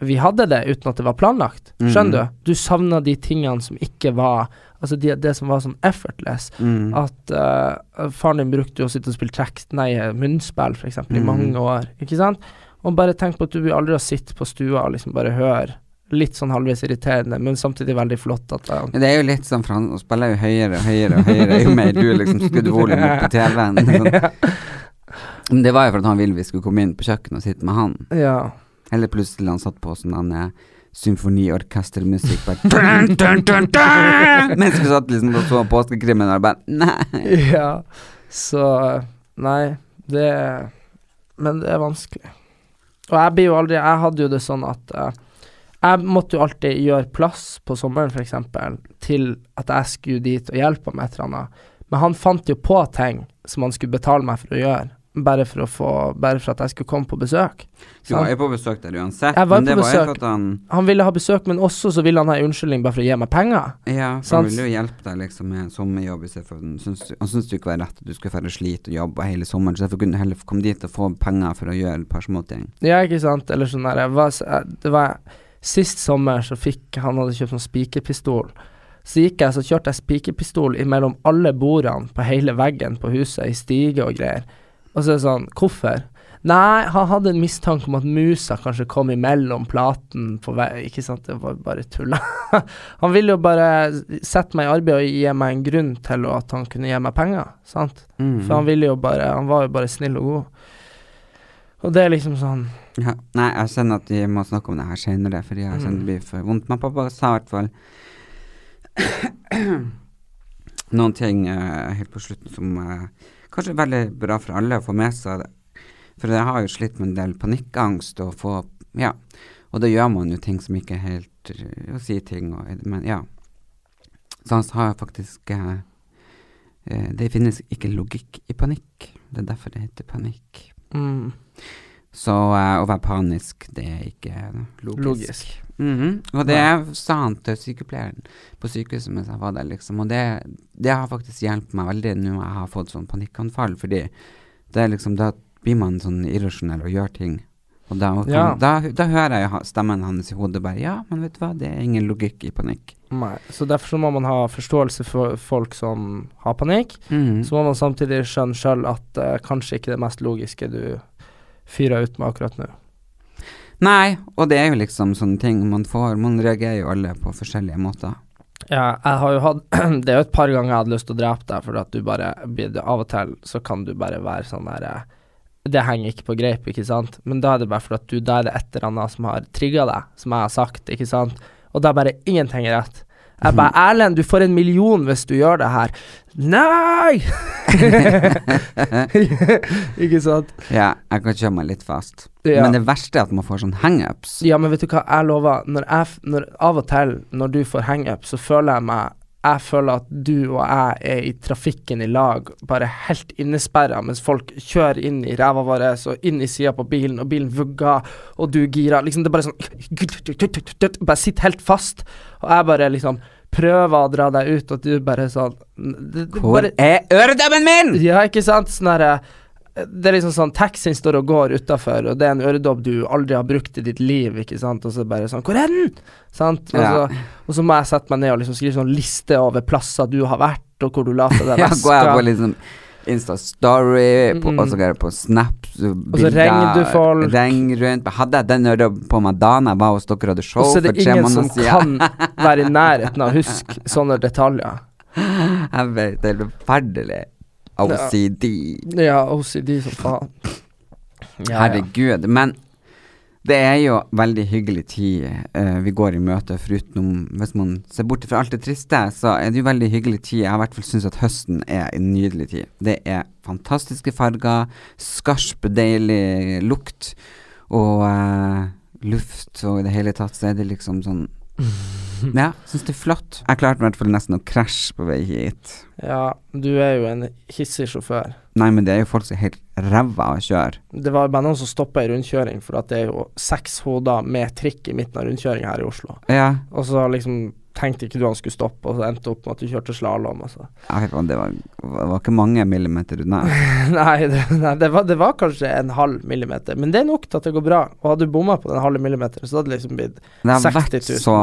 Speaker 2: vi hadde det uten at det var planlagt.
Speaker 1: Mm.
Speaker 2: Skjønner du? Du savna de tingene som ikke var Altså de, det som var sånn effortless.
Speaker 1: Mm.
Speaker 2: At eh, faren din brukte jo å sitte og spille trekk, nei, eh, munnspill, for
Speaker 1: Mm.
Speaker 2: eksempel, i mange år. Ikke sant? Og bare tenk på at du vil aldri å sitte på stua og liksom bare høre. Litt sånn halvveis irriterende, men samtidig veldig flott at eh,
Speaker 1: Ja, Det er jo litt sånn, for han spiller jo høyere og høyere og høyere jo mer du liksom skrudde volumet opp på TV-en. Sånn. Men det var jo for at han ville vi skulle komme inn på kjøkkenet og sitte med han.
Speaker 2: Ja.
Speaker 1: Eller plutselig han satt på sånn han eh, symfoniorkestermusikk bare dun, dun, dun, dun, Mens vi satt liksom og så påskekrimmen og bare Nei.
Speaker 2: ja. Så Nei, det Men det er vanskelig. Og jeg blir jo aldri Jeg hadde jo det sånn at eh, jeg måtte jo alltid gjøre plass på sommeren, f.eks., til at jeg skulle dit og hjelpe ham med et eller annet. Men han fant jo på ting som han skulle betale meg for å gjøre, bare for, å få, bare for at jeg skulle komme på besøk.
Speaker 1: Du var jo på besøk der uansett,
Speaker 2: Jeg var
Speaker 1: men
Speaker 2: på
Speaker 1: det var jo
Speaker 2: besøk.
Speaker 1: for at han
Speaker 2: Han ville ha besøk, men også så ville han ha en unnskyldning bare for å gi meg penger.
Speaker 1: Ja, for han
Speaker 2: Sant.
Speaker 1: ville jo hjelpe deg liksom med sommerjobb i stedet for han syntes- Han syntes det ikke var rett at du skulle dra og slite og jobbe hele sommeren, så derfor kunne du heller komme dit og få penger for å gjøre et par småting.
Speaker 2: Ja, ikke sant? Eller sånn der jeg var, s- jeg- Det var Sist sommer så fikk Han hadde kjøpt sånn spikerpistol. Så gikk jeg, så kjørte jeg spikerpistol imellom alle bordene på hele veggen på huset, i stige og greier. Og så er det sånn Hvorfor? Nei, han hadde en mistanke om at musa kanskje kom imellom platen på vei Ikke sant, det var bare tulla. han ville jo bare sette meg i arbeid og gi meg en grunn til at han kunne gi meg penger, sant? For han ville jo bare Han var jo bare snill og god. Og det er liksom sånn
Speaker 1: Ja. Nei, jeg skjønner at vi må snakke om det her senere, fordi jeg kjenner det blir for vondt. Men pappa sa i hvert fall noen ting eh, helt på slutten som eh, kanskje er veldig bra for alle å få med seg. For jeg har jo slitt med en del panikkangst og få Ja. Og da gjør man jo ting som ikke er helt eh, Å si ting og Men ja. Sånn Så han sa faktisk eh, eh, Det finnes ikke logikk i panikk. Det er derfor det heter panikk.
Speaker 2: mm,
Speaker 1: Så eh, å være panisk, det er ikke logisk.
Speaker 2: logisk.
Speaker 1: Mhm. Og det sa han til sykepleieren på sykehuset mens jeg var der, liksom. Og det, det har faktisk hjulpet meg veldig nå jeg har fått sånn panikkanfall, fordi det er liksom Da blir man sånn irrasjonell og gjør ting. Og da, kan,
Speaker 2: Ja.
Speaker 1: da, da hører jeg jo ha- stemmen hans i hodet bare Ja, men vet du hva, det er ingen logikk i panikk.
Speaker 2: Nei. Så derfor så må man ha forståelse for folk som har panikk.
Speaker 1: Mhm.
Speaker 2: Så må man samtidig skjønne sjøl at eh, kanskje ikke det mest logiske du fyrer ut med akkurat nå.
Speaker 1: Nei, og det er jo liksom sånne ting man får. Man reagerer jo alle på forskjellige måter.
Speaker 2: Ja, jeg har jo hatt Det er jo et par ganger jeg hadde lyst til å drepe deg, for at du bare blir- Av og til så kan du bare være sånn der eh, Det henger ikke på greip, ikke sant? Men da er det bare fordi at du Da er det et eller annet som har trigga deg, som jeg har sagt, ikke sant? Og da er bare ingenting rett. Jeg bare 'Erlend, du får en million hvis du gjør det her'. Nei! ikke sant?
Speaker 1: Ja, jeg kan kjøre meg litt fast.
Speaker 2: Ja.
Speaker 1: Men det verste er at man får sånn hangups.
Speaker 2: Ja, men vet du hva, jeg lover når jeg, f- når, Av og til når du får hangup, så føler jeg meg Jeg føler at du og jeg er i trafikken i lag, bare helt innesperra, mens folk kjører inn i ræva vår og inn i sida på bilen, og bilen vugger, og du girer Liksom, det er bare sånn Bare sitter helt fast, og jeg bare liksom prøver å dra deg ut, og du bare sånn det, det,
Speaker 1: Hvor
Speaker 2: bare,
Speaker 1: er øredobben E- min?!
Speaker 2: ja, ikke sant? Sånn herre det er liksom sånn Taxien står og går utafor, og det er en øredobb du aldri har brukt i ditt liv, ikke sant, og så bare sånn 'Hvor er den?' Sant? Og,
Speaker 1: Ja.
Speaker 2: så, og så må jeg sette meg ned og liksom skrive sånn liste over plasser du har vært, og hvor du later deg
Speaker 1: Ja, går jeg på
Speaker 2: veska.
Speaker 1: liksom Insta-story,
Speaker 2: Mm-hmm.
Speaker 1: på- og så går jeg på Snap Og
Speaker 2: ringer du folk.
Speaker 1: rundt Hadde jeg den øra på meg da når jeg var hos dere og hadde show
Speaker 2: Og så er
Speaker 1: for
Speaker 2: det
Speaker 1: tre
Speaker 2: ingen som
Speaker 1: måneder siden?
Speaker 2: kan være i nærheten av å huske sånne detaljer.
Speaker 1: Jeg vet, det er helt forferdelig OCD
Speaker 2: Ja, OCD som faen. Ja, ja.
Speaker 1: Herregud Men det er jo veldig hyggelig tid eh, vi går i møte For utenom, hvis man ser bort fra alt det triste Så er det jo veldig hyggelig tid Jeg i hvert fall synes at høsten er en nydelig tid Det er fantastiske farger Skarp, deilig lukt Og eh, luft Og i det hele tatt så er det liksom sånn Ja, synes det er flott Jeg klarte i hvert fall nesten å krasje på vei hit
Speaker 2: ja, du er jo en hissig sjåfør.
Speaker 1: Nei, men det er jo folk som er helt ræva å kjøre
Speaker 2: Det var bare noen som stoppa i rundkjøring, for at det er jo seks hoder med trikk i midten av rundkjøringa her i Oslo.
Speaker 1: Ja,
Speaker 2: Og så liksom tenkte ikke du han skulle stoppe, og så endte opp med at du kjørte slalåm, altså.
Speaker 1: Nei, faen, det var, det var ikke mange millimeter unna.
Speaker 2: Nei, det, nei det, var, det var kanskje en halv millimeter, men det er nok til at det går bra. Og hadde du bomma på den halve millimeteren, så hadde det liksom blitt
Speaker 1: Det har
Speaker 2: 60
Speaker 1: vært
Speaker 2: 000.
Speaker 1: så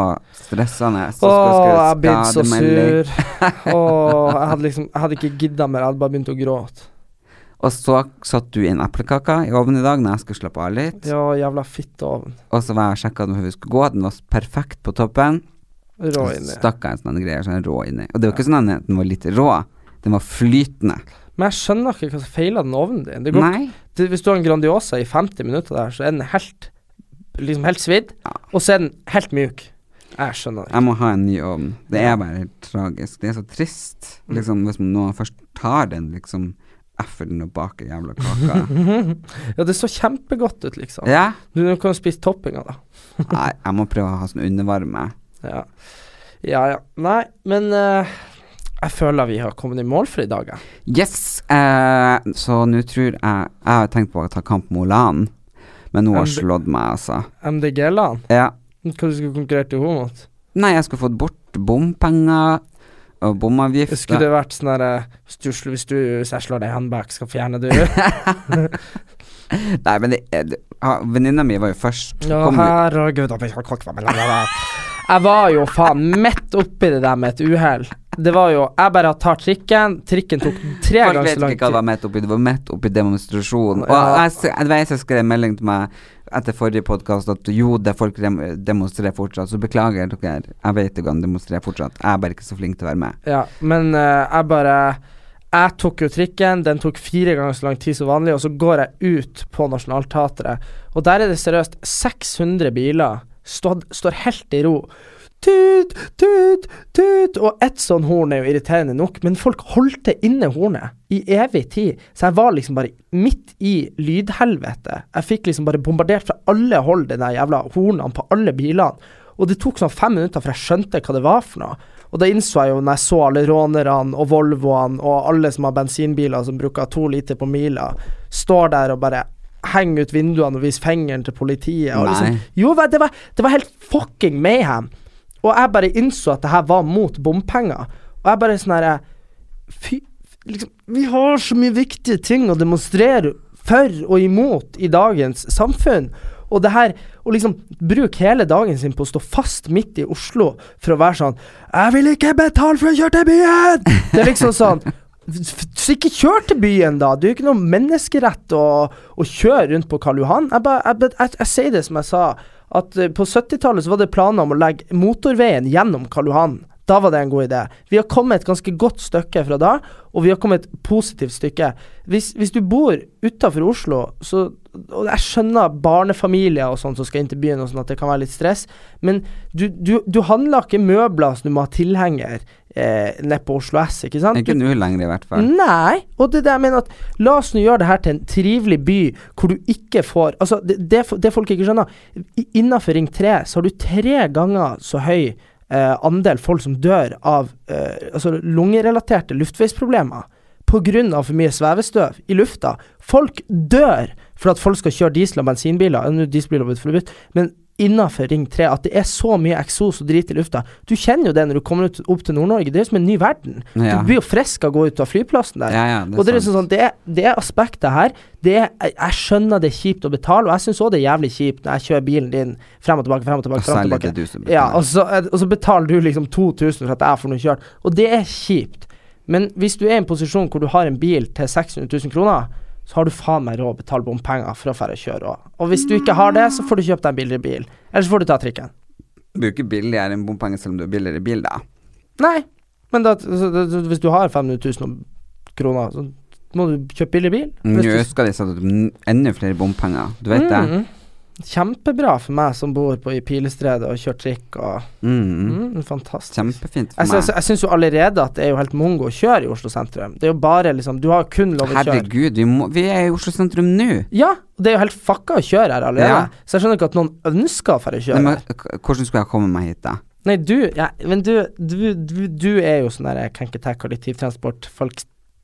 Speaker 1: stressende. Så
Speaker 2: Å,
Speaker 1: skal
Speaker 2: jeg
Speaker 1: skrive
Speaker 2: har blitt så
Speaker 1: skademelding,
Speaker 2: sur. Åh, jeg hadde liksom Jeg hadde ikke gidda mer, jeg hadde bare begynt å gråte.
Speaker 1: Og så satt du i en eplekake i ovnen i dag når jeg skulle slappe av litt.
Speaker 2: Ja, jævla fitteovn.
Speaker 1: Og så var jeg og sjekka den før vi skulle gå, den var perfekt på toppen.
Speaker 2: Rå
Speaker 1: Og så
Speaker 2: inni.
Speaker 1: stakk jeg en sånn greie sånn rå inni. Og det var ikke sånn at den var litt rå, den var flytende.
Speaker 2: Men jeg skjønner ikke hva som feiler den ovnen din. Det går,
Speaker 1: Nei.
Speaker 2: det, hvis du har en Grandiosa i 50 minutter der, så er den helt Liksom helt svidd, og så er den helt mjuk. Jeg skjønner det.
Speaker 1: Jeg må ha en ny ovn. Det er bare helt tragisk. Det er så trist.
Speaker 2: Mm.
Speaker 1: Liksom, hvis man nå først tar den, liksom effer den og baker jævla kaka.
Speaker 2: Ja, det så kjempegodt ut, liksom.
Speaker 1: ja?
Speaker 2: Du nå kan jo spise toppinga, da.
Speaker 1: Nei, jeg må prøve å ha sånn undervarme.
Speaker 2: Ja. ja ja. Nei, men eh, jeg føler vi har kommet i mål for i dag, jeg.
Speaker 1: Yes! Eh, så nå tror jeg Jeg har tenkt på å ta kamp mot Lan, men hun har
Speaker 2: Ja, men-
Speaker 1: slått meg, altså.
Speaker 2: MDG-land.
Speaker 1: Ja.
Speaker 2: Hva du skulle konkurrert til henne mot?
Speaker 1: Nei, jeg skulle fått bort bompenger og
Speaker 2: Skulle
Speaker 1: bomavgifter.
Speaker 2: det vært sånn herre Hvis du hvis jeg slår deg i håndbak, skal fjerne du Ja,
Speaker 1: Nei, men det, er- det, ha, venninna mi var jo først. Kom jo-
Speaker 2: herregud at jeg har kokk med meg, la, la, la. Jeg var jo faen midt oppi det der med et uhell. Det var jo Jeg bare tar trikken. Trikken tok tre
Speaker 1: Folk
Speaker 2: ganger
Speaker 1: vet
Speaker 2: så lang
Speaker 1: ikke hva det var
Speaker 2: tid.
Speaker 1: midt oppi. Det var midt oppi demonstrasjonen. Og
Speaker 2: Ja.
Speaker 1: jeg, s- jeg, vet jeg skrev en melding til meg etter forrige podkast at jo, det er folk dem- demonstrerer fortsatt, så beklager dere. Jeg vet ikke om de demonstrerer fortsatt. Jeg er bare ikke så flink til å være med.
Speaker 2: Ja, men eh, jeg bare Jeg tok jo trikken. Den tok fire ganger så lang tid som vanlig, og så går jeg ut på Nationaltheatret, og der er det seriøst 600 biler stått, står helt i ro. Tut, tut, tut. Og ett sånn horn er jo irriterende nok, men folk holdt det inne hornet i evig tid. Så jeg var liksom bare midt i lydhelvete. Jeg fikk liksom bare bombardert fra alle hold de der jævla hornene på alle bilene. Og det tok sånn fem minutter før jeg skjønte hva det var for noe. Og da innså jeg jo når jeg så alle rånerne og Volvoene og alle som har bensinbiler som bruker to liter på mila, står der og bare henger ut vinduene og viser fingeren til politiet. Og
Speaker 1: Nei.
Speaker 2: liksom, jo, det var, det var helt fucking mayhem. Og jeg bare innså at det her var mot bompenger. Og jeg bare sånn herre Fy liksom, Vi har så mye viktige ting å demonstrere for og imot i dagens samfunn. Og det her Å liksom bruke hele dagen sin på å stå fast midt i Oslo for å være sånn 'Jeg vil ikke betale for å kjøre til byen!' Det er liksom sånn f- f- Ikke kjør til byen, da! Det er jo ikke noe menneskerett å, å kjøre rundt på Karl Johan. Jeg, bare, jeg, jeg, jeg, jeg sier det som jeg sa, at eh, på 70-tallet så var det planer om å legge motorveien gjennom Karl Johan. Da var det en god idé. Vi har kommet et ganske godt stykke fra da, og vi har kommet et positivt stykke. Hvis, hvis du bor utafor Oslo, så Og jeg skjønner barnefamilier og sånn som skal inn til byen, og sånn at det kan være litt stress, men du, du, du handler ikke møbler som du må ha tilhenger eh, nede på Oslo S, ikke sant?
Speaker 1: Ikke
Speaker 2: Du-
Speaker 1: nå lenger, i hvert fall.
Speaker 2: Nei, og det der mener at La oss nå gjøre det her til en trivelig by hvor du ikke får Altså, det, det, fo- det folk ikke skjønner i- Innenfor Ring 3 så har du tre ganger så høy eh, andel folk som dør av eh, altså lungerelaterte luftveisproblemer pga. for mye svevestøv i lufta. Folk dør for at folk skal kjøre diesel- og bensinbiler. Ja, Nå er dieselbiler blitt forbudt, men innafor Ring 3 at det er så mye eksos og drit i lufta. Du kjenner jo det når du kommer ut, opp til Nord-Norge. Det er jo som en ny verden.
Speaker 1: Ja.
Speaker 2: Du blir jo frisk av å gå ut av flyplassen der.
Speaker 1: Ja, ja, det er
Speaker 2: og det er
Speaker 1: sant.
Speaker 2: liksom sånn, det, er- det er aspektet her. Det er, jeg- jeg skjønner det er kjipt å betale, og jeg syns òg det er jævlig kjipt når jeg kjører bilen din frem og tilbake, frem og tilbake.
Speaker 1: Og
Speaker 2: frem og
Speaker 1: særlig det
Speaker 2: tilbake.
Speaker 1: er du som betaler.
Speaker 2: ja, og, så, eh, og så betaler du liksom 2000 for at jeg får noe kjørt. Og det er kjipt. Men hvis du er i en posisjon hvor du har en bil til 600 000 kroner, så har du faen meg råd å betale bompenger for å dra og kjøre òg. Og hvis du ikke har det, så får du kjøpe deg en billigere bil. Eller så får du ta trikken. Mm.
Speaker 1: Du bruker billigere enn bompenger selv om du har billigere bil, da.
Speaker 2: Nei, men da, så, så, så, hvis du har 500 000 kroner, så må du kjøpe billig bil.
Speaker 1: Nå
Speaker 2: Hvis
Speaker 1: skal de sette opp n- enda flere bompenger, du vet
Speaker 2: du-
Speaker 1: det?
Speaker 2: Mm. Kjempebra for meg som bor på i Pilestredet og kjører trikk og
Speaker 1: Mm.
Speaker 2: mm, Fantastisk.
Speaker 1: Kjempefint
Speaker 2: Jeg,
Speaker 1: for
Speaker 2: synes-
Speaker 1: meg.
Speaker 2: jeg syns jo allerede at det er jo helt mongo å kjøre i Oslo sentrum. Det er jo bare liksom Du har kun lov å kjøre.
Speaker 1: Herregud, vi, må, vi er i Oslo sentrum nå.
Speaker 2: Ja, og det er jo helt fucka å kjøre her allerede.
Speaker 1: Ja.
Speaker 2: Så jeg skjønner ikke at noen ønsker å dra og
Speaker 1: Men,
Speaker 2: kjøre. Nei,
Speaker 1: hva- k- hvordan skulle jeg komme meg hit, da?
Speaker 2: du, ja, men du, du, du, du er jo sånn der jeg kan ikke ta kollektivtransport. Folk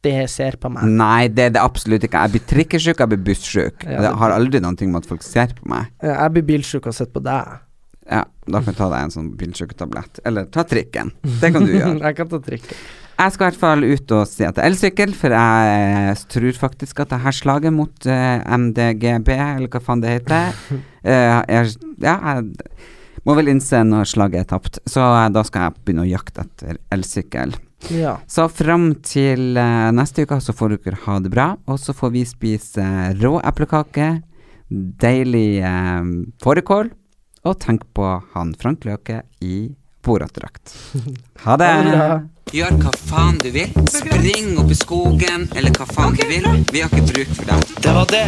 Speaker 2: det ser på meg.
Speaker 1: Nei, det er det absolutt ikke. Jeg blir trikkesjuk, jeg blir bussjuk.
Speaker 2: Ja,
Speaker 1: det
Speaker 2: det-
Speaker 1: har aldri noen ting med at folk ser på meg.
Speaker 2: Jeg blir bilsjuk og sitter på deg.
Speaker 1: Ja, da kan jeg ta deg en sånn bilsjuketablett. Eller ta trikken. Det kan du gjøre.
Speaker 2: jeg kan ta trikken.
Speaker 1: Jeg skal i hvert fall ut og si at det er elsykkel, for jeg eh, tror faktisk at det her slaget mot eh, MDGB, eller hva faen det heter eh, er, Ja, jeg må vel innse når slaget er tapt. Så eh, da skal jeg begynne å jakte etter elsykkel.
Speaker 2: Ja.
Speaker 1: Så fram til eh, neste uke så får dere ha det bra, og så får vi spise eh, rå eplekake, deilig eh, fårikål, og tenk på han Frank Løke i borattdrakt. Ha det! Gjør hva faen du vil. Spring opp i skogen, eller hva faen du vil. Vi har ikke bruk for deg.